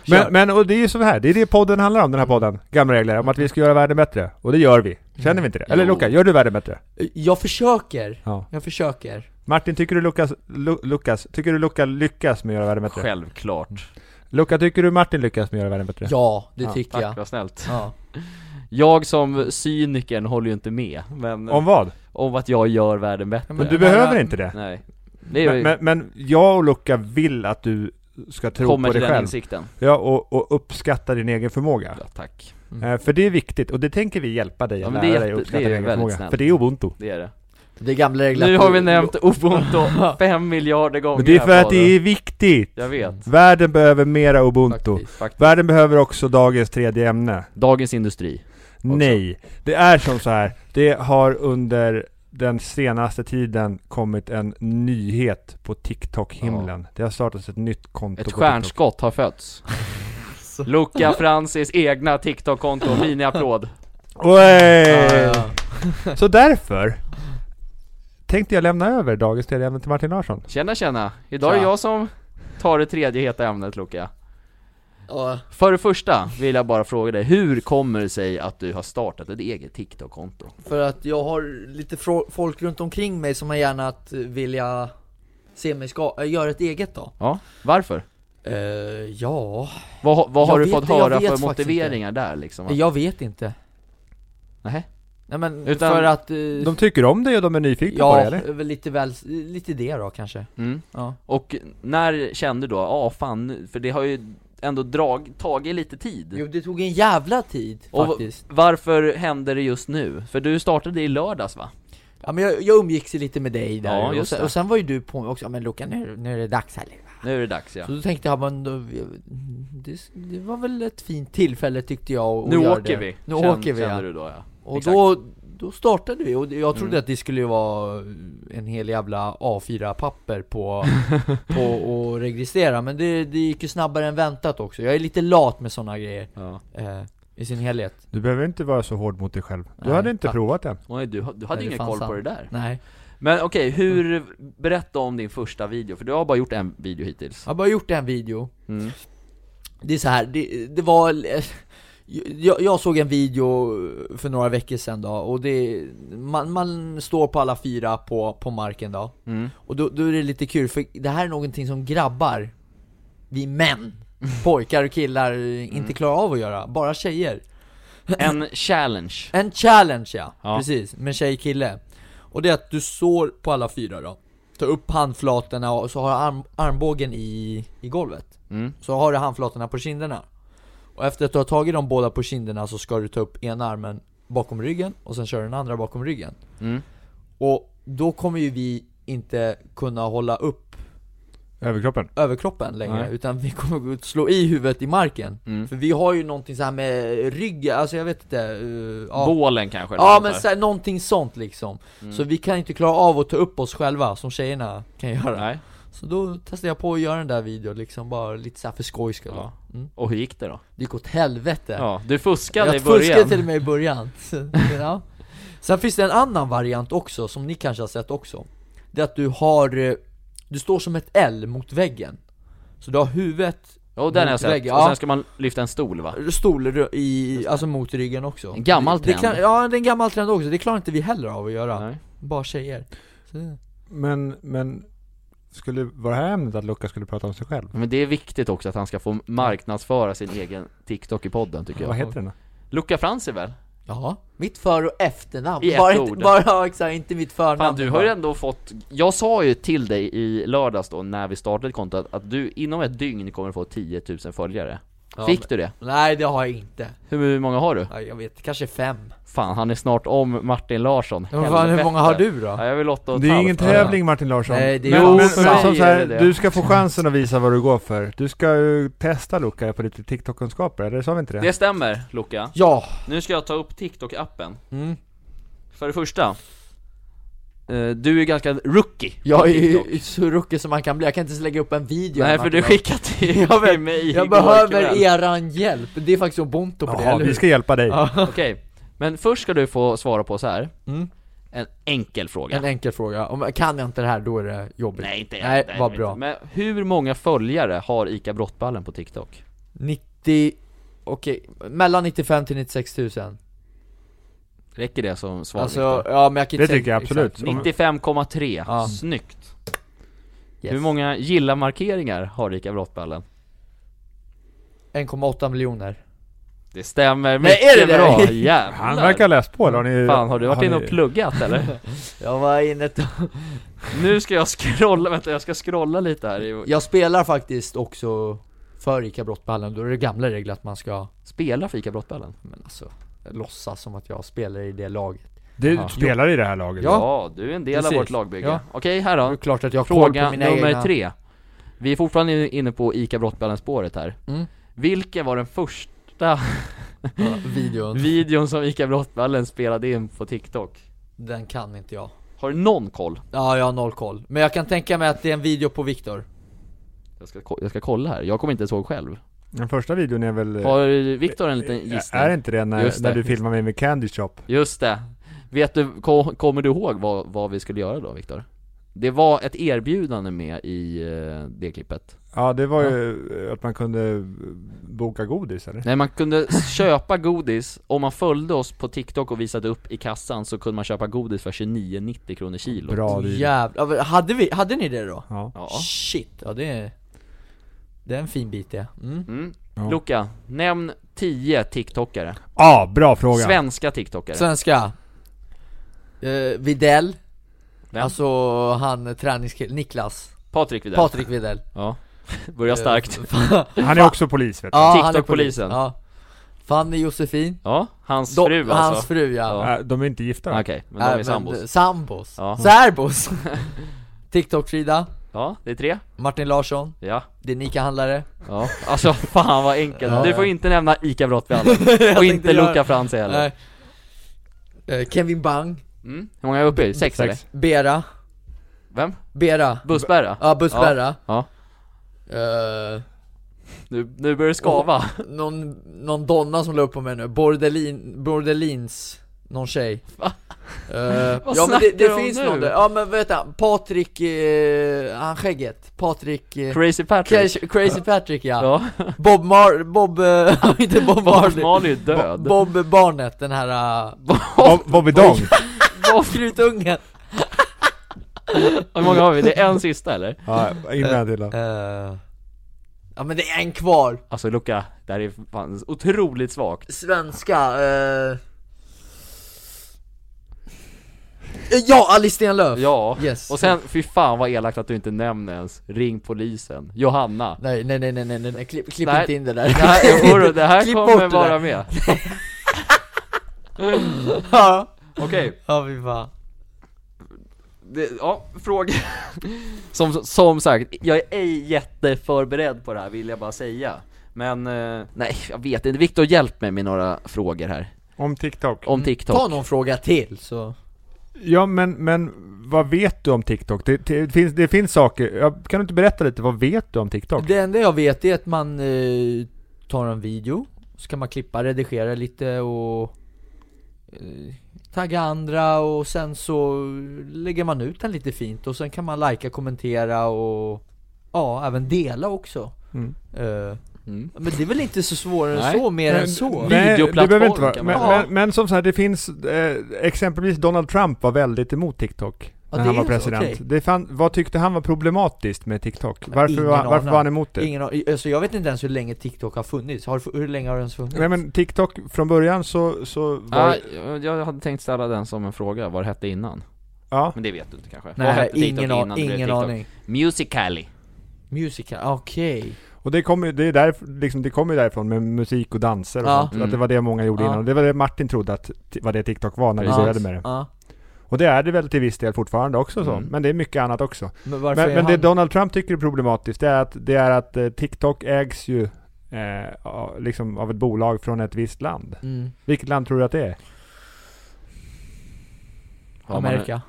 Speaker 1: Men, men och det är ju så här, det är det podden handlar om, den här podden. Gamla regler, om att vi ska göra världen bättre. Och det gör vi. Känner vi inte det? Eller
Speaker 2: Jo.
Speaker 1: Luca, gör du världen bättre?
Speaker 3: Jag försöker.
Speaker 1: Ja.
Speaker 3: Jag försöker.
Speaker 1: Martin, tycker du Lukas, Lu, Lukas, tycker du Luca lyckas med att göra världen bättre?
Speaker 2: Självklart
Speaker 1: Luca, tycker du Martin lyckas med att göra världen bättre?
Speaker 3: Ja, det
Speaker 1: Ja,
Speaker 3: tycker
Speaker 2: Tack,
Speaker 3: jag.
Speaker 2: vad snällt
Speaker 3: Ja.
Speaker 2: Jag som cynikern håller ju inte med, men
Speaker 1: Om vad?
Speaker 2: om att jag gör världen bättre
Speaker 1: Men du
Speaker 3: men-
Speaker 1: behöver inte det.
Speaker 2: Nej Det är
Speaker 1: Men, men, men jag och Luca vill att du ska tro
Speaker 2: kommer
Speaker 1: på
Speaker 2: till
Speaker 1: dig
Speaker 2: den
Speaker 1: själv.
Speaker 2: insikten
Speaker 1: Ja, och, och uppskatta din egen förmåga.
Speaker 2: ja, Tack,
Speaker 1: Eh, För det är viktigt, och det tänker vi hjälpa dig
Speaker 2: Ja,
Speaker 1: att lära
Speaker 2: men det är
Speaker 1: dig
Speaker 2: jätte-
Speaker 1: att uppskatta
Speaker 2: det är
Speaker 1: din egen
Speaker 2: väldigt
Speaker 1: förmåga.
Speaker 2: snällt.
Speaker 1: För det är ubuntu.
Speaker 2: det är det
Speaker 3: Det är gamla regler.
Speaker 2: Nu
Speaker 3: att-
Speaker 2: har vi nämnt ubuntu fem miljarder gånger
Speaker 1: Men det är för
Speaker 2: här
Speaker 1: att det är viktigt!
Speaker 2: Jag vet,
Speaker 1: Världen behöver mera ubuntu.
Speaker 3: Faktiskt.
Speaker 2: faktiskt
Speaker 1: Världen behöver också dagens tredje ämne.
Speaker 2: Dagens Industri
Speaker 1: Nej, det är som så här. Det har under den senaste tiden kommit en nyhet på TikTok-himlen. Det har startats ett nytt konto på
Speaker 2: Ett
Speaker 1: TikTok.
Speaker 2: stjärnskott har fötts Luca Francis egna TikTok-konto, miniapplåd
Speaker 3: Ja,
Speaker 1: Oj!
Speaker 3: ja.
Speaker 1: Så därför tänkte jag lämna över dagens tredje ämne till Martin Larsson.
Speaker 2: Tjena tjena! Idag är
Speaker 3: Tja.
Speaker 2: jag som tar det tredje heta ämnet Luca
Speaker 3: Ja.
Speaker 2: För det första vill jag bara fråga dig, hur kommer det sig att du har startat ett eget TikTok-konto?
Speaker 3: För att jag har lite fro- folk runt omkring mig som har gärna att eh, vilja se mig ska- äh, göra ett eget då.
Speaker 2: Ja, varför?
Speaker 3: Eh, ja,
Speaker 2: Vad, ha- vad
Speaker 3: Jag
Speaker 2: har du
Speaker 3: vet-
Speaker 2: fått
Speaker 3: jag
Speaker 2: höra
Speaker 3: vet
Speaker 2: för
Speaker 3: faktiskt
Speaker 2: motiveringar där liksom? Att,
Speaker 3: jag vet inte.
Speaker 2: Nej.
Speaker 3: Nej men
Speaker 2: Utan-
Speaker 3: för att... eh,
Speaker 1: De tycker om dig och de är nyfikna på dig
Speaker 3: ja,
Speaker 1: eller?
Speaker 3: väl lite väl, lite det då kanske.
Speaker 2: Mm.
Speaker 3: Ja.
Speaker 2: Och när kände du då, ja ah, fan, nu- för det har ju ändå drag, tagit lite tid
Speaker 3: Jo det tog en jävla tid
Speaker 2: Och-
Speaker 3: faktiskt.
Speaker 2: Varför händer det just nu? För du startade i lördags va?
Speaker 3: Ja men jag, jag umgicks ju lite med dig där,
Speaker 2: Ja,
Speaker 3: och,
Speaker 2: just
Speaker 3: sen,
Speaker 2: det.
Speaker 3: och sen var ju du på mig också, ja men Luka nu, nu är det dags här va?
Speaker 2: Nu är det dags ja
Speaker 3: Så då tänkte jag, men då, det, det var väl ett fint tillfälle tyckte jag att
Speaker 2: Nu
Speaker 3: göra
Speaker 2: åker
Speaker 3: det.
Speaker 2: vi,
Speaker 3: Nu
Speaker 2: kände-
Speaker 3: åker vi
Speaker 2: kände
Speaker 3: ja.
Speaker 2: du då ja
Speaker 3: Och
Speaker 2: Exakt.
Speaker 3: då, då startade vi och jag trodde
Speaker 2: Mm.
Speaker 3: att det skulle ju vara en hel jävla A4-papper på, på att registrera Men det, det gick ju snabbare än väntat också, jag är lite lat med sådana grejer
Speaker 2: Ja,
Speaker 3: eh, i sin helhet
Speaker 1: Du behöver inte vara så hård mot dig själv. Du
Speaker 3: Nej,
Speaker 1: hade inte
Speaker 3: tack.
Speaker 1: provat än.
Speaker 2: Oj, du, du hade
Speaker 3: Nej,
Speaker 2: ju
Speaker 3: det
Speaker 2: ingen
Speaker 3: fanns
Speaker 2: koll på
Speaker 3: han.
Speaker 2: det där
Speaker 3: Nej,
Speaker 2: Men okej, hur, berätta om din första video, för du har bara gjort en video hittills
Speaker 3: jag har bara gjort en video
Speaker 2: mm.
Speaker 3: Det är så här, det, det var... eh, Jag, jag såg en video för några veckor sedan då, och det... Man, man står på alla fyra på, på marken då
Speaker 2: Mm.
Speaker 3: Och då, då är det lite kul, för det här är någonting som grabbar, vi män, pojkar och killar, inte
Speaker 2: Mm.
Speaker 3: klarar av att göra, bara tjejer
Speaker 2: En challenge
Speaker 3: En challenge ja,
Speaker 2: Ja.
Speaker 3: precis, med tjej kille Och det är att du står på alla fyra då Tar upp handflatorna och så har du arm, armbågen i, i golvet
Speaker 2: mm.
Speaker 3: Så har du handflatorna på kinderna Och efter att du har tagit de båda på kinderna så ska du ta upp ena armen bakom ryggen och sen kör du den andra bakom ryggen
Speaker 2: Mm.
Speaker 3: Och då kommer ju vi inte kunna hålla upp
Speaker 1: Överkroppen?
Speaker 3: överkroppen längre,
Speaker 1: Nej.
Speaker 3: utan vi kommer gå ut och slå i huvudet i marken
Speaker 2: Mm.
Speaker 3: För vi har ju någonting så här med ryggen, alltså jag vet inte, eh, ja.
Speaker 2: Bålen kanske? eller
Speaker 3: Ja
Speaker 2: något
Speaker 3: men
Speaker 2: där.
Speaker 3: så här, någonting sånt liksom
Speaker 2: Mm.
Speaker 3: Så vi kan inte klara av att ta upp oss själva som tjejerna kan göra
Speaker 2: Nej.
Speaker 3: Så då testade jag på att göra den där videon liksom bara lite så här för skojs skull
Speaker 2: Ja.
Speaker 3: mm.
Speaker 2: Och hur gick det då?
Speaker 3: Det gick åt helvete
Speaker 2: Ja, du fuskade i
Speaker 3: Jag fuskade
Speaker 2: början
Speaker 3: till och med i början Så, ja. Sen finns det en annan variant också som ni kanske har sett också Det är att du har, eh, du står som ett L mot väggen Så du har huvudet,
Speaker 2: Jo den har jag
Speaker 3: mot
Speaker 2: sett,
Speaker 3: väggen,
Speaker 2: och
Speaker 3: ja.
Speaker 2: sen ska man lyfta en stol va?
Speaker 3: stol rö- i, alltså mot ryggen också
Speaker 2: En gammal
Speaker 3: det, det
Speaker 2: trend.
Speaker 3: kan, Ja det är en gammal trend också, det klarar inte vi heller av att göra
Speaker 2: Nej.
Speaker 3: Bara tjejer Så,
Speaker 1: Men, men skulle, var det här ämnet att Luca skulle prata om sig själv?
Speaker 2: Men det är viktigt också att han ska få marknadsföra sin egen TikTok i podden tycker
Speaker 1: Vad
Speaker 2: jag
Speaker 1: heter den då?
Speaker 2: Luca Frans är väl?
Speaker 3: Ja, mitt för och efternamn,
Speaker 2: I ett
Speaker 3: bara
Speaker 2: ord.
Speaker 3: inte, bara, ja, exakt, inte mitt förnamn
Speaker 2: Fan du har ju
Speaker 3: bara.
Speaker 2: ändå fått, jag sa ju till dig i lördags då när vi startade kontot att du inom ett dygn kommer få 10 000 följare
Speaker 3: Ja,
Speaker 2: Fick du det?
Speaker 3: Nej det har jag inte,
Speaker 2: Hur hur många har du?
Speaker 3: ja, jag vet, kanske fem
Speaker 2: Fan han är snart om Martin Larsson,
Speaker 3: Men fan, Hur
Speaker 2: Helvete.
Speaker 3: många har du då?
Speaker 2: Ja, jag vill åtta och ett
Speaker 1: Det är
Speaker 2: halvt.
Speaker 1: ingen tävling Martin Larsson.
Speaker 3: Nej, det är
Speaker 1: men,
Speaker 3: ju
Speaker 1: men, men
Speaker 3: sant.
Speaker 1: som så
Speaker 2: Säger
Speaker 1: här,
Speaker 2: det.
Speaker 1: du ska få chansen att visa vad du går för. Du ska ju testa Luca på lite TikTok-kunskaper, eller sa vi inte det?
Speaker 2: Det stämmer Luca,
Speaker 3: Ja!
Speaker 2: nu ska jag ta upp TikTok-appen
Speaker 3: Mm.
Speaker 2: För det första eh, Du är ganska rookie på
Speaker 3: Jag är
Speaker 2: TikTok.
Speaker 3: ju så ruckig som man kan bli, jag kan inte ens lägga upp en video
Speaker 2: Nej för du
Speaker 3: skickar
Speaker 2: skickade till
Speaker 3: Jag vet.
Speaker 2: till mig
Speaker 3: Jag
Speaker 2: igår
Speaker 3: behöver
Speaker 2: kväll.
Speaker 3: eran hjälp, det är faktiskt ubuntu på det,
Speaker 1: Jaha,
Speaker 3: eller
Speaker 1: vi
Speaker 3: hur?
Speaker 1: ska hjälpa dig.
Speaker 3: Ja.
Speaker 2: Okej, men först ska du få svara på så här.
Speaker 3: Mm.
Speaker 2: En enkel fråga
Speaker 3: En enkel fråga, om, kan jag inte det här då är det jobbigt
Speaker 2: Nej inte
Speaker 3: Nej,
Speaker 2: nej,
Speaker 3: vad
Speaker 2: inte.
Speaker 3: bra.
Speaker 2: Men hur många följare har ICA Brottballen på TikTok?
Speaker 3: 90, okej, mellan 95 till 96 000
Speaker 2: Räcker det som svar
Speaker 3: Alltså,
Speaker 2: Viktor?
Speaker 3: ja men jag kan inte
Speaker 1: Det
Speaker 3: säga-
Speaker 1: tycker jag absolut.
Speaker 3: exakt.
Speaker 2: 95,3,
Speaker 3: Ja.
Speaker 2: snyggt!
Speaker 3: Yes.
Speaker 2: Hur många gilla-markeringar har ICA Brottballen?
Speaker 3: 1,8 miljoner
Speaker 2: Det stämmer
Speaker 3: Nej, är det
Speaker 2: mycket
Speaker 3: det?
Speaker 2: bra,
Speaker 1: Han
Speaker 2: jävlar!
Speaker 1: verkar ha läst på, eller har ni,
Speaker 2: Fan, har du varit inne
Speaker 1: ni-
Speaker 2: och pluggat eller?
Speaker 3: Jag var inne ett
Speaker 2: nu ska jag scrolla, vänta jag ska scrolla lite här i-
Speaker 3: Jag spelar faktiskt också för ICA Brottballen, då är det gamla regler att man ska,
Speaker 2: Spelar för ICA Brottballen?
Speaker 3: men alltså, låtsas som att jag spelar i det laget
Speaker 1: Du
Speaker 2: Ja.
Speaker 1: spelar i det här laget?
Speaker 3: Ja.
Speaker 2: Ja, du är en del av
Speaker 3: Precis.
Speaker 2: vårt lagbygge.
Speaker 3: Ja.
Speaker 2: Okej, här
Speaker 3: Det är
Speaker 2: då.
Speaker 3: klart att jag har koll
Speaker 2: Fråga
Speaker 3: på mina
Speaker 2: nummer
Speaker 3: egna...
Speaker 2: tre. Vi är fortfarande inne på ICA Brottballen-spåret här.
Speaker 3: Mm.
Speaker 2: Vilken var den första
Speaker 3: Ja, videon,
Speaker 2: videon som ICA Brottballen spelade in på TikTok?
Speaker 3: den kan inte jag
Speaker 2: Har du någon koll?
Speaker 3: Ja, jag har noll koll, men jag kan tänka mig att det är en video på Viktor
Speaker 2: Jag ska, ko- jag ska kolla här, jag kommer inte ens ihåg själv.
Speaker 1: Den första videon är väl...
Speaker 2: Har Viktor en liten gissning?
Speaker 1: Eh, Är det inte det när,
Speaker 2: Just det.
Speaker 1: när du filmar mig med Candy Shop?
Speaker 2: Just det. Vet du, ko- kommer du ihåg vad, vad vi skulle göra då, Viktor? Det var ett erbjudande med i eh, det klippet.
Speaker 1: Ja, det var ju eh, att man kunde eh, boka godis eller?
Speaker 2: Nej man kunde köpa godis, om man följde oss på TikTok och visade upp i kassan så kunde man köpa godis för 29,90 kronor kilo
Speaker 1: Bra video.
Speaker 3: Jävlar, vad- hade vi, hade ni det då?
Speaker 1: Ja.
Speaker 2: Ja.
Speaker 3: Shit, ja det är... Det är en fin bit det mm.
Speaker 2: Mm.
Speaker 1: Ja.
Speaker 2: Luca, nämn 10 TikTokare,
Speaker 1: ja, Ah, bra fråga!
Speaker 2: svenska TikTokare
Speaker 3: Svenska eh, Videll
Speaker 2: Vem?
Speaker 3: Alltså han träningskillen, Niklas
Speaker 2: Patrik Widell
Speaker 3: Patrik Videll
Speaker 2: Ja, Eh, börjar starkt
Speaker 1: Han är också polis vet du.
Speaker 3: Ja,
Speaker 2: TikTok
Speaker 3: han är polis.
Speaker 2: polisen.
Speaker 3: Ja. Fanny Josefin
Speaker 2: Ja, hans
Speaker 3: Do-
Speaker 2: fru alltså
Speaker 3: Hans fru ja,
Speaker 2: Ja.
Speaker 1: Äh, De är inte gifta va?
Speaker 2: Okej, men de
Speaker 3: Äh,
Speaker 2: är
Speaker 3: men, eh,
Speaker 2: sambos
Speaker 3: Sambos,
Speaker 2: Ja.
Speaker 3: särbos TikTok-Frida
Speaker 2: Ja, det är tre
Speaker 3: Martin Larsson,
Speaker 2: Ja,
Speaker 3: det är en ICA-handlare
Speaker 2: ja Alltså fan vad enkelt,
Speaker 3: Ja.
Speaker 2: du får inte nämna ICA Brottbjörnen Och inte Luca Frans heller
Speaker 3: Nej. Eh, Kevin Bang,
Speaker 2: mm. Hur många är uppe i? Sex, eller?
Speaker 1: Sex.
Speaker 3: Bera,
Speaker 2: Vem?
Speaker 3: Bera
Speaker 2: Bussbära?
Speaker 3: Ja, Bussberra
Speaker 2: Ja.
Speaker 3: Eh,
Speaker 2: Nu, nu börjar det skava
Speaker 3: någon, någon donna som la upp på mig nu, Bordelin, Bordelins, någon tjej
Speaker 2: Va?
Speaker 3: Eh,
Speaker 2: Vad
Speaker 3: ja men
Speaker 2: snackar
Speaker 3: det,
Speaker 2: du
Speaker 3: det
Speaker 2: om
Speaker 3: finns
Speaker 2: nu?
Speaker 3: någon där, ja men vänta, Patrik, eh, han skägget, Patrik eh,
Speaker 2: Crazy Patrick
Speaker 3: Crazy, Crazy Patrick ja,
Speaker 2: Ja,
Speaker 3: Bob Mar, Bob, eh, inte Bob
Speaker 2: Bob
Speaker 3: Marley
Speaker 2: Marley är död
Speaker 3: Bob Barnet, den här uh,
Speaker 1: Bob- Bobby Dong!
Speaker 3: Krutungen
Speaker 2: Hur många har vi? Det är en sista eller?
Speaker 1: ja, in med den till då.
Speaker 3: Eh, Ja men det är en kvar,
Speaker 2: Alltså Luca, det här är fan otroligt svagt
Speaker 3: svenska, eh. Ja, Alice Stenlöf!
Speaker 2: Ja,
Speaker 3: Yes.
Speaker 2: och sen fy fan vad elakt att du inte nämner ens Ring polisen, Johanna
Speaker 3: Nej nej nej nej nej, nej, nej. klipp, klipp
Speaker 2: Nej.
Speaker 3: inte in det
Speaker 2: Det
Speaker 3: där
Speaker 2: här, jodå, det här
Speaker 3: Klipp
Speaker 2: kommer
Speaker 3: bort det
Speaker 2: vara
Speaker 3: där.
Speaker 2: med
Speaker 3: Ja,
Speaker 2: Okej,
Speaker 3: ja fy fan
Speaker 2: det, ja, fråga. Som, som sagt, jag är ej jätteförberedd på det här vill jag bara säga. Men, eh, nej jag vet inte. Viktor hjälp mig med några frågor här.
Speaker 1: Om TikTok.
Speaker 2: Om TikTok.
Speaker 3: Ta någon fråga till så
Speaker 1: Ja, men, men vad vet du om TikTok? Det, det, finns, det finns saker. Ja, Kan du inte berätta lite? Vad vet du om TikTok?
Speaker 3: Det enda jag vet är att man eh, tar en video, så kan man klippa, redigera lite och eh, tagga andra och sen så lägger man ut den lite fint och sen kan man likea, kommentera och ja, även dela också
Speaker 1: Mm.
Speaker 3: Eh,
Speaker 2: Mm.
Speaker 3: Men det är väl inte så svårare än
Speaker 2: Nej.
Speaker 3: så, mer än
Speaker 1: Men-
Speaker 3: så?
Speaker 1: Nej,
Speaker 2: vi-
Speaker 1: det
Speaker 2: Videoplattform
Speaker 1: behöver inte vara.
Speaker 2: kan
Speaker 1: Men,
Speaker 2: man
Speaker 3: säga.
Speaker 1: men, men som så här, det finns eh, exempelvis Donald Trump var väldigt emot TikTok
Speaker 3: Ja,
Speaker 1: när
Speaker 3: det
Speaker 1: han var
Speaker 3: är så,
Speaker 1: president.
Speaker 3: okej.
Speaker 1: Det fan, vad tyckte han var problematiskt med TikTok?
Speaker 3: Men
Speaker 1: Varför,
Speaker 3: ingen
Speaker 1: var, varför
Speaker 3: aning.
Speaker 1: var han emot det?
Speaker 3: Ingen har, alltså jag vet inte ens hur länge TikTok har funnits, har, det fu- hur länge har den ens funnits?
Speaker 1: Nej men TikTok från början så, så var
Speaker 2: Ah, jag- jag hade tänkt ställa den som en fråga, vad det hette innan.
Speaker 1: ja.
Speaker 2: Men det vet du inte kanske? Vad
Speaker 3: Nej,
Speaker 2: hette TikTok
Speaker 3: ingen, an,
Speaker 2: innan det blev
Speaker 3: ingen
Speaker 2: TikTok?
Speaker 3: aning
Speaker 2: Musical.ly
Speaker 3: Musical, okej
Speaker 1: Och det kommer ju det är därf- liksom, det kom ju därifrån med musik och danser och
Speaker 3: Ja.
Speaker 1: sånt,
Speaker 2: Mm.
Speaker 1: att det var det många gjorde
Speaker 3: Ja.
Speaker 1: innan. Och det var det Martin trodde att t- var det TikTok var när vi
Speaker 2: Ja.
Speaker 1: började med det.
Speaker 3: Ja.
Speaker 1: Och det är det väl till viss del fortfarande också så,
Speaker 2: Mm.
Speaker 1: men det är mycket annat också.
Speaker 3: Men varför
Speaker 1: Men,
Speaker 3: är
Speaker 1: men det
Speaker 3: han...
Speaker 1: Donald Trump tycker är problematiskt, det är att, det är att eh, TikTok ägs ju eh, av- liksom av ett bolag från ett visst land.
Speaker 3: Mm.
Speaker 1: Vilket land tror du att det är?
Speaker 2: Har man-
Speaker 3: Amerika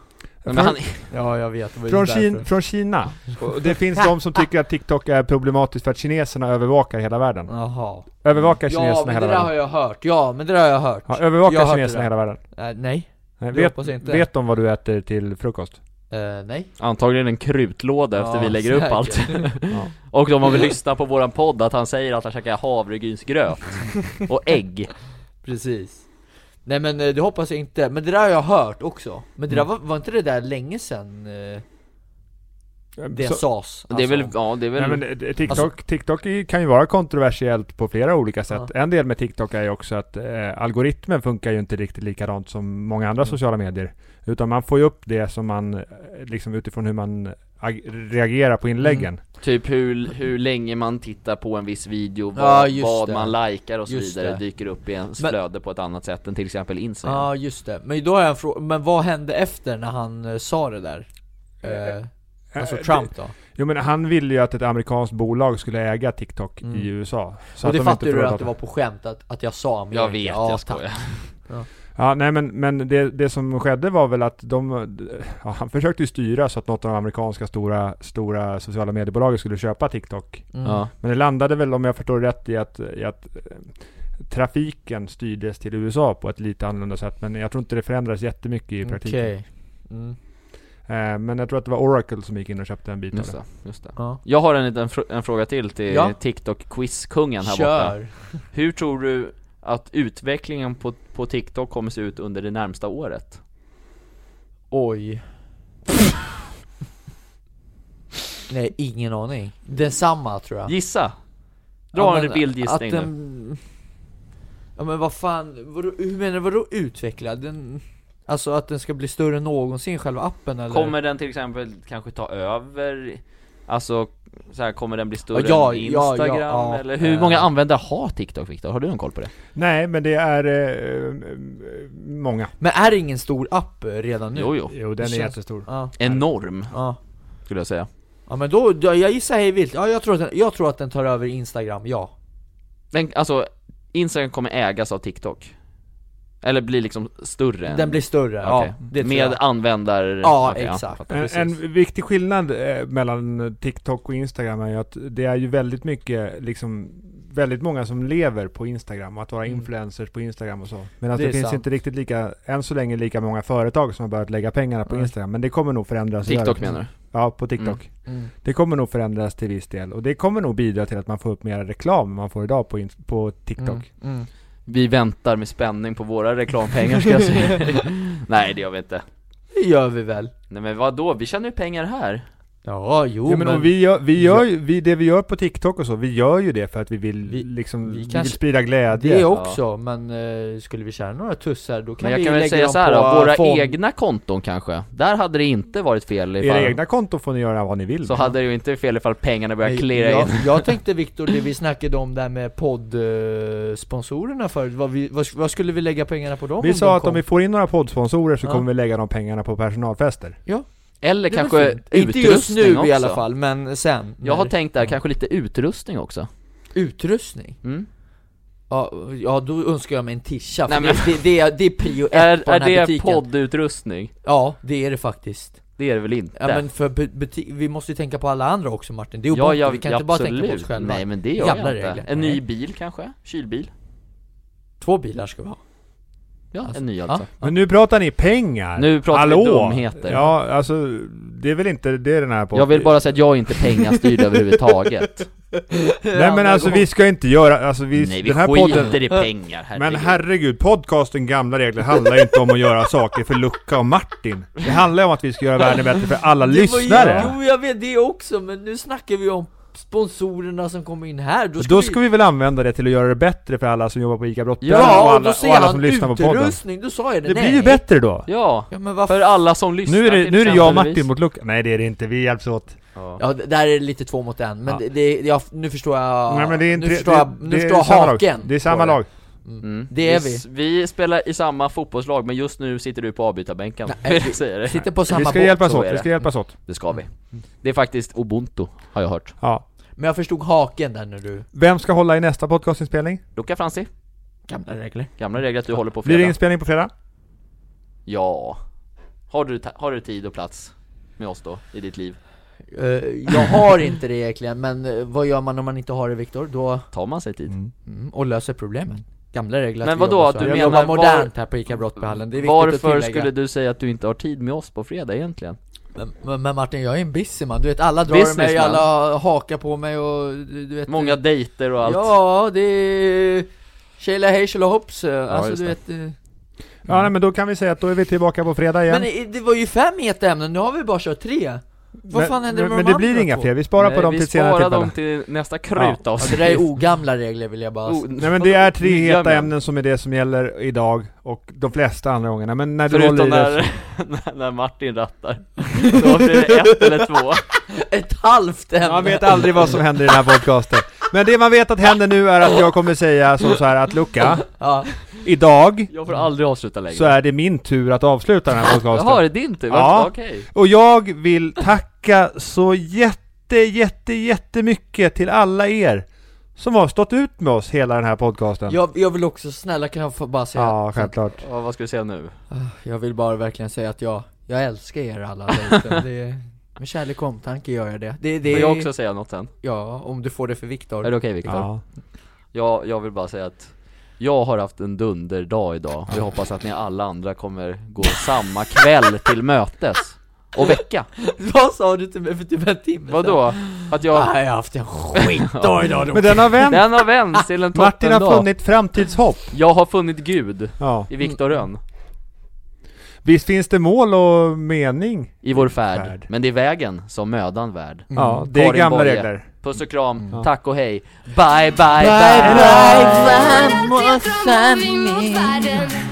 Speaker 2: Men han,
Speaker 3: Ja jag vet, det var ju
Speaker 1: Från,
Speaker 3: därför.
Speaker 1: Kin- från Kina. Och det finns de som tycker att TikTok är problematiskt för att kineserna övervakar hela världen.
Speaker 3: Jaha
Speaker 1: Övervakar
Speaker 3: Ja
Speaker 1: kineserna
Speaker 3: men det
Speaker 1: hela
Speaker 3: där har
Speaker 1: världen.
Speaker 3: jag hört, ja men det där har jag hört
Speaker 1: Ja,
Speaker 3: Jag har
Speaker 1: övervakar
Speaker 3: hört det
Speaker 1: kineserna
Speaker 3: där.
Speaker 1: hela världen.
Speaker 3: Eh, Nej,
Speaker 1: Nej,
Speaker 3: Det
Speaker 1: vet,
Speaker 3: hoppas jag inte.
Speaker 1: vet de vad du äter till frukost?
Speaker 3: Eh, nej
Speaker 2: antagligen en krutlåda efter
Speaker 3: Ja,
Speaker 2: vi lägger upp
Speaker 3: säkert.
Speaker 2: allt.
Speaker 1: Ja.
Speaker 2: Och de har väl lyssnat på våran podd att han säger att han käkar havregrynsgröt och ägg.
Speaker 3: Precis Nej men eh, det hoppas jag inte, men det där har jag hört också Men
Speaker 1: Mm.
Speaker 3: det där var, var inte det där länge sen eh, det
Speaker 1: Så-
Speaker 3: sades?
Speaker 2: det är väl,
Speaker 3: alltså?
Speaker 2: ja det är väl
Speaker 1: Nej, men det- det- TikTok, TikTok är ju- kan ju vara kontroversiellt på flera olika sätt. En del med TikTok är ju också att eh, algoritmen funkar ju inte riktigt likadant som många
Speaker 3: Mm.
Speaker 1: andra sociala medier. Utan man får ju upp det som man, eh, liksom utifrån hur man ag- reagerar på inläggen.
Speaker 3: Mm.
Speaker 2: typ hur, hur länge man tittar på en viss video,
Speaker 3: Ja,
Speaker 2: vad,
Speaker 3: just
Speaker 2: vad
Speaker 3: det.
Speaker 2: man likar och så
Speaker 3: Just
Speaker 2: vidare
Speaker 3: det.
Speaker 2: dyker upp i ens
Speaker 3: Men-
Speaker 2: flöde på ett annat sätt än till exempel
Speaker 3: Ja
Speaker 2: Instagram.
Speaker 3: ah, just det, men då har jag en fråga, men vad hände efter när han eh, sa det där? Eh, alltså
Speaker 1: Eh,
Speaker 3: Trump då?
Speaker 1: Det, jo men han ville ju att ett amerikanskt bolag skulle äga TikTok
Speaker 3: Mm.
Speaker 1: i USA. Så
Speaker 3: och det
Speaker 1: de
Speaker 3: fattar
Speaker 1: inte
Speaker 3: du
Speaker 1: förlåt
Speaker 3: att det var på skämt att, att jag sa Amerika?
Speaker 2: Jag vet,
Speaker 3: ja,
Speaker 2: jag
Speaker 3: tack.
Speaker 2: skojar.
Speaker 1: Ja, nej men, men det, det som skedde var väl att de, ja, han försökte ju styra så att något av de amerikanska stora, stora sociala mediebolagen skulle köpa TikTok.
Speaker 3: Mm.
Speaker 2: Ja.
Speaker 1: Men det landade väl, om jag förstår rätt, i att, i att eh, trafiken styrdes till USA på ett lite annorlunda sätt. Men jag tror inte det förändrades jättemycket i praktiken.
Speaker 3: Okej. Mm.
Speaker 1: Eh, men jag tror att det var Oracle som gick in och köpte en bit
Speaker 2: Just
Speaker 1: av
Speaker 2: det, just det.
Speaker 3: Ja.
Speaker 2: Jag har en liten fr- en fråga till till
Speaker 3: Ja.
Speaker 2: TikTok-quizkungen här borta.
Speaker 3: Kör!
Speaker 2: Hur tror du att utvecklingen på, på TikTok kommer se ut under det närmsta året?
Speaker 3: Oj Nej, ingen aning Densamma tror jag
Speaker 2: Gissa! Dra
Speaker 3: Ja, men
Speaker 2: en bildgissning
Speaker 3: att
Speaker 2: nu.
Speaker 3: den- Ja men vad fan, vadå, hur menar du vadå utveckla? Den, alltså att den ska bli större än någonsin själva appen eller?
Speaker 2: Kommer den till exempel kanske ta över? Alltså, så här, kommer den bli större
Speaker 3: ja,
Speaker 2: än
Speaker 3: ja,
Speaker 2: Instagram?
Speaker 3: ja.
Speaker 2: Eller hur
Speaker 3: Eh.
Speaker 2: många användare har TikTok Viktor? Har du någon koll på det?
Speaker 1: Nej, men det är eh, många.
Speaker 3: Men är det ingen stor app eh, redan nu?
Speaker 2: Jo, jo.
Speaker 1: Jo, den
Speaker 3: Det
Speaker 1: är
Speaker 3: känns-
Speaker 1: jättestor.
Speaker 3: Ja,
Speaker 2: Enorm,
Speaker 3: ja.
Speaker 2: skulle jag säga.
Speaker 3: ja men då, då, jag gissar hej vilt, ja jag tror, att den, jag tror att den tar över Instagram, ja
Speaker 2: Den, alltså, Instagram kommer ägas av TikTok. Eller blir liksom större. än-
Speaker 3: Den blir större,
Speaker 2: Okej.
Speaker 3: ja det tror
Speaker 2: Med
Speaker 3: jag.
Speaker 2: användar...
Speaker 3: Ja
Speaker 2: Okej,
Speaker 3: exakt,
Speaker 2: fattar.
Speaker 1: En,
Speaker 3: precis
Speaker 1: en viktig skillnad eh, mellan TikTok och Instagram är ju att det är ju väldigt mycket, liksom, väldigt många som lever på Instagram och att vara
Speaker 3: Mm.
Speaker 1: influencers på Instagram och så. Men att
Speaker 3: Det
Speaker 1: det,
Speaker 3: är
Speaker 1: finns
Speaker 3: sant.
Speaker 1: inte riktigt lika, än så länge lika många företag som har börjat lägga pengarna på
Speaker 3: Nej.
Speaker 1: Instagram. Men det kommer nog förändras.
Speaker 2: TikTok
Speaker 1: rörligt.
Speaker 2: menar du?
Speaker 1: Ja, på TikTok.
Speaker 2: Mm.
Speaker 3: mm.
Speaker 1: Det kommer nog förändras till viss del och det kommer nog bidra till att man får upp mer reklam än man får idag på, ins- på TikTok.
Speaker 3: Mm. Mm.
Speaker 2: Vi väntar med spänning på våra reklampengar ska jag säga. Nej det gör vi inte.
Speaker 3: Det gör vi väl?
Speaker 2: Nej men vadå, vi tjänar ju pengar här.
Speaker 3: Ja, jo
Speaker 1: ja, men, Och vi gör, vi gör, ju- vi, det vi gör på TikTok och så, vi gör ju det för att vi vill,
Speaker 3: Vi-
Speaker 1: liksom,
Speaker 3: vi
Speaker 1: vi vill
Speaker 3: kanske-
Speaker 1: sprida glädje.
Speaker 3: det också, men eh, skulle vi tjäna några tussar då kan
Speaker 2: Men jag
Speaker 3: vi
Speaker 2: kan väl
Speaker 3: lägga
Speaker 2: säga
Speaker 3: dem
Speaker 2: så här
Speaker 3: på
Speaker 2: då, våra
Speaker 3: fond.
Speaker 2: egna konton kanske, där hade det inte varit fel
Speaker 1: Era
Speaker 2: ifall,
Speaker 1: egna konton får ni göra vad ni vill.
Speaker 2: så hade det ju inte fel ifall pengarna började
Speaker 3: Nej,
Speaker 2: klirra in
Speaker 3: jag, jag tänkte Viktor, det vi snackade om där med poddsponsorerna förut, vad, vi, vad, vad skulle vi lägga pengarna på dem
Speaker 1: Vi
Speaker 3: om
Speaker 1: sa att
Speaker 3: kom?
Speaker 1: om vi får in några poddsponsorer så
Speaker 3: Ja.
Speaker 1: kommer vi lägga de pengarna på personalfester.
Speaker 2: Eller
Speaker 3: Det är väl
Speaker 2: kanske
Speaker 3: fint.
Speaker 2: utrustning
Speaker 3: Inte just nu
Speaker 2: också.
Speaker 3: i alla fall, men sen
Speaker 2: Jag har
Speaker 3: när-
Speaker 2: tänkt där, kanske lite utrustning också
Speaker 3: Utrustning?
Speaker 2: mm.
Speaker 3: Ja, ja, då önskar jag mig en tisha, för
Speaker 2: Nej, men-
Speaker 3: det, det, det, är, det är prio ett
Speaker 2: Är,
Speaker 3: på
Speaker 2: är
Speaker 3: den här
Speaker 2: det
Speaker 3: butiken
Speaker 2: poddutrustning?
Speaker 3: Ja, det är det faktiskt
Speaker 2: Det är det väl inte?
Speaker 3: Ja men för bu- buti- vi måste ju tänka på alla andra också Martin, det är ju
Speaker 2: ja,
Speaker 3: botten,
Speaker 2: ja,
Speaker 3: vi kan inte bara tänka på oss
Speaker 2: absolut.
Speaker 3: själva
Speaker 2: Nej men det gör
Speaker 3: Jävla
Speaker 2: jag inte
Speaker 3: regler.
Speaker 2: En
Speaker 3: Nej.
Speaker 2: ny bil kanske? Kylbil?
Speaker 3: Två bilar ska vi ha
Speaker 2: Ja,
Speaker 3: Alltså,
Speaker 2: en ny alltså
Speaker 1: Men nu pratar ni pengar!
Speaker 2: Nu pratar
Speaker 1: Hallå.
Speaker 2: vi dumheter
Speaker 1: Ja, alltså det är väl inte det den här podden...
Speaker 2: Jag vill bara säga att jag är inte pengastyrd överhuvudtaget
Speaker 1: Nej men alltså vi ska inte göra, alltså vi,
Speaker 2: Nej vi
Speaker 1: den här
Speaker 2: skiter
Speaker 1: podden...
Speaker 2: i pengar, herregud
Speaker 1: Men herregud, podcasten gamla regler handlar ju inte om att göra saker för Luca och Martin. Det handlar ju om att vi ska göra världen bättre för alla lyssnare.
Speaker 3: Jo jag vet det också, men nu snackar vi om sponsorerna som kommer in här, då
Speaker 1: Då
Speaker 3: ska,
Speaker 1: ska, vi väl använda det till att göra det bättre för alla som jobbar på ICA Brottaren
Speaker 2: Ja,
Speaker 1: och
Speaker 3: Ja, och
Speaker 1: alla,
Speaker 3: då
Speaker 1: och
Speaker 3: säger
Speaker 1: alla som
Speaker 3: han
Speaker 1: lyssnar på podden.
Speaker 3: utrustning, då sa jag det,
Speaker 1: Det
Speaker 3: nej
Speaker 1: blir ju bättre då.
Speaker 2: Ja,
Speaker 3: Ja men vad
Speaker 2: för alla som lyssnar
Speaker 1: Nu är det,
Speaker 2: till
Speaker 1: nu är det jag och
Speaker 2: exempelvis.
Speaker 1: Martin mot Luca. Nej det är det inte, vi hjälps åt.
Speaker 2: Ja.
Speaker 3: Ja, det- där är det lite två mot en, men
Speaker 1: Ja.
Speaker 3: det, det, jag, nu förstår jag...
Speaker 1: Nej men det är inte,
Speaker 3: nu förstår
Speaker 1: det,
Speaker 3: jag, nu
Speaker 1: det är
Speaker 3: förstår jag
Speaker 1: samma
Speaker 3: haken!
Speaker 1: Lag. Det är samma
Speaker 3: på
Speaker 1: lag.
Speaker 2: Mm.
Speaker 3: Det är
Speaker 2: s- Vi spelar i samma fotbollslag men just nu sitter du på avbytarbänken,
Speaker 3: Nej,
Speaker 2: vill
Speaker 3: vi-
Speaker 2: jag säga det.
Speaker 3: Sitter på
Speaker 1: Vi
Speaker 3: samma
Speaker 1: ska
Speaker 3: båt.
Speaker 1: hjälpas
Speaker 2: så
Speaker 1: åt,
Speaker 2: är
Speaker 1: vi
Speaker 2: det.
Speaker 1: ska hjälpas åt.
Speaker 2: Det ska vi. Det är faktiskt ubuntu, har jag hört.
Speaker 1: Ja.
Speaker 3: Men jag förstod haken där när du...
Speaker 1: Vem ska hålla i nästa podcastinspelning?
Speaker 2: Luca Franzi,
Speaker 3: Gamla regler.
Speaker 2: gamla regler att du håller på
Speaker 1: Blir
Speaker 2: fredag.
Speaker 1: det inspelning på fredag?
Speaker 2: Ja. Har du, ta- har du tid och plats med oss då, i ditt liv?
Speaker 3: Eh, jag har inte det egentligen, men eh, vad gör man om man inte har det Viktor? Då...
Speaker 2: Tar man sig tid?
Speaker 3: Mm, och löser problemen. Gamla regler
Speaker 2: Men
Speaker 3: vi
Speaker 2: vadå,
Speaker 3: jobbar
Speaker 2: att
Speaker 3: så.
Speaker 2: du
Speaker 3: Jag
Speaker 2: menar
Speaker 3: jobbar
Speaker 2: var-
Speaker 3: modernt här på ICA Brottbyhallen, det är viktigt
Speaker 2: Varför
Speaker 3: att tillägga.
Speaker 2: skulle du säga att du inte har tid med oss på fredag egentligen?
Speaker 3: Men- Men, men Martin, jag är en busy man, du vet alla drar mig,
Speaker 2: Businessman.
Speaker 3: alla hakar på mig och du du vet...
Speaker 2: Många dejter och allt.
Speaker 3: Ja, det är... Tjejla hej tjela hopps, eh, alltså
Speaker 2: just
Speaker 3: du
Speaker 2: det.
Speaker 3: vet... eh,
Speaker 2: Mm.
Speaker 1: Ja nej, men då kan vi säga att då är vi tillbaka på fredag igen.
Speaker 3: Men i- det var ju fem heta ämnen, nu har vi bara kört tre! Vad
Speaker 1: Men-
Speaker 3: fan händer
Speaker 1: men,
Speaker 3: med
Speaker 1: men
Speaker 3: de
Speaker 1: det blir
Speaker 3: andra
Speaker 1: inga
Speaker 3: två?
Speaker 1: fler, vi sparar
Speaker 2: Nej,
Speaker 1: på dem
Speaker 2: vi
Speaker 1: till senare
Speaker 2: sparar
Speaker 1: tillfälle.
Speaker 2: dem till nästa krutavsnitt.
Speaker 3: Ja, det där är ogamla regler vill jag bara
Speaker 2: O-
Speaker 1: Nej men det är tre heta ämnen som är det som gäller idag och de flesta andra gångerna. Men när du håller
Speaker 2: Förutom
Speaker 1: i det
Speaker 2: när, när Martin rattar, då blir det ett eller två
Speaker 3: Ett halvt ämne!
Speaker 1: Man vet aldrig vad som händer i den här podcasten. Men det man vet att händer nu är att jag kommer säga som så här att Luca,
Speaker 3: Ja,
Speaker 1: idag
Speaker 2: Jag får aldrig avsluta längre
Speaker 1: så är det min tur att avsluta den här
Speaker 2: Jaha, är
Speaker 1: podcasten.
Speaker 2: det din tur?
Speaker 1: Ja.
Speaker 2: Ja. Okej
Speaker 1: Och jag vill tacka så jätte, jätte, jättemycket till alla er som har stått ut med oss hela den här podcasten.
Speaker 3: jag, jag vill också, snälla kan jag få bara säga
Speaker 1: Ja, självklart.
Speaker 2: Ja, Vad ska du säga nu?
Speaker 3: Jag vill bara verkligen säga att jag, jag älskar er alla dejter. det är, Med kärlek och omtanke gör jag det, det, det
Speaker 2: Får jag också säga något sen?
Speaker 3: Ja, om du får det för
Speaker 2: Är
Speaker 3: Viktor
Speaker 2: det okej Viktor?
Speaker 1: Ja.
Speaker 2: Jag, jag vill bara säga att jag har haft en dunderdag idag och jag hoppas att ni alla andra kommer gå samma kväll till mötes och vecka
Speaker 3: Vad sa du till mig för typ en timme sedan?
Speaker 2: Vadå? Att jag...
Speaker 3: Nej, jag har haft en skitdag idag
Speaker 1: Men den har vänt.
Speaker 2: Den har vänts till en
Speaker 1: Martin har
Speaker 2: toppendag
Speaker 1: funnit framtidshopp.
Speaker 2: Jag har funnit Gud
Speaker 1: Ja.
Speaker 2: i Viktor Rönn
Speaker 1: Visst finns det mål och mening?
Speaker 2: I vår färd.
Speaker 1: Färd.
Speaker 2: Men det är vägen som mödan värd.
Speaker 1: Ja, det är
Speaker 2: Mm. Karin
Speaker 1: gamla
Speaker 2: Boye.
Speaker 1: regler. Mm.
Speaker 2: Puss och kram, tack och hej. Bye bye bye.
Speaker 3: Bye, bye.
Speaker 4: Till från mot världen Ah, Ah,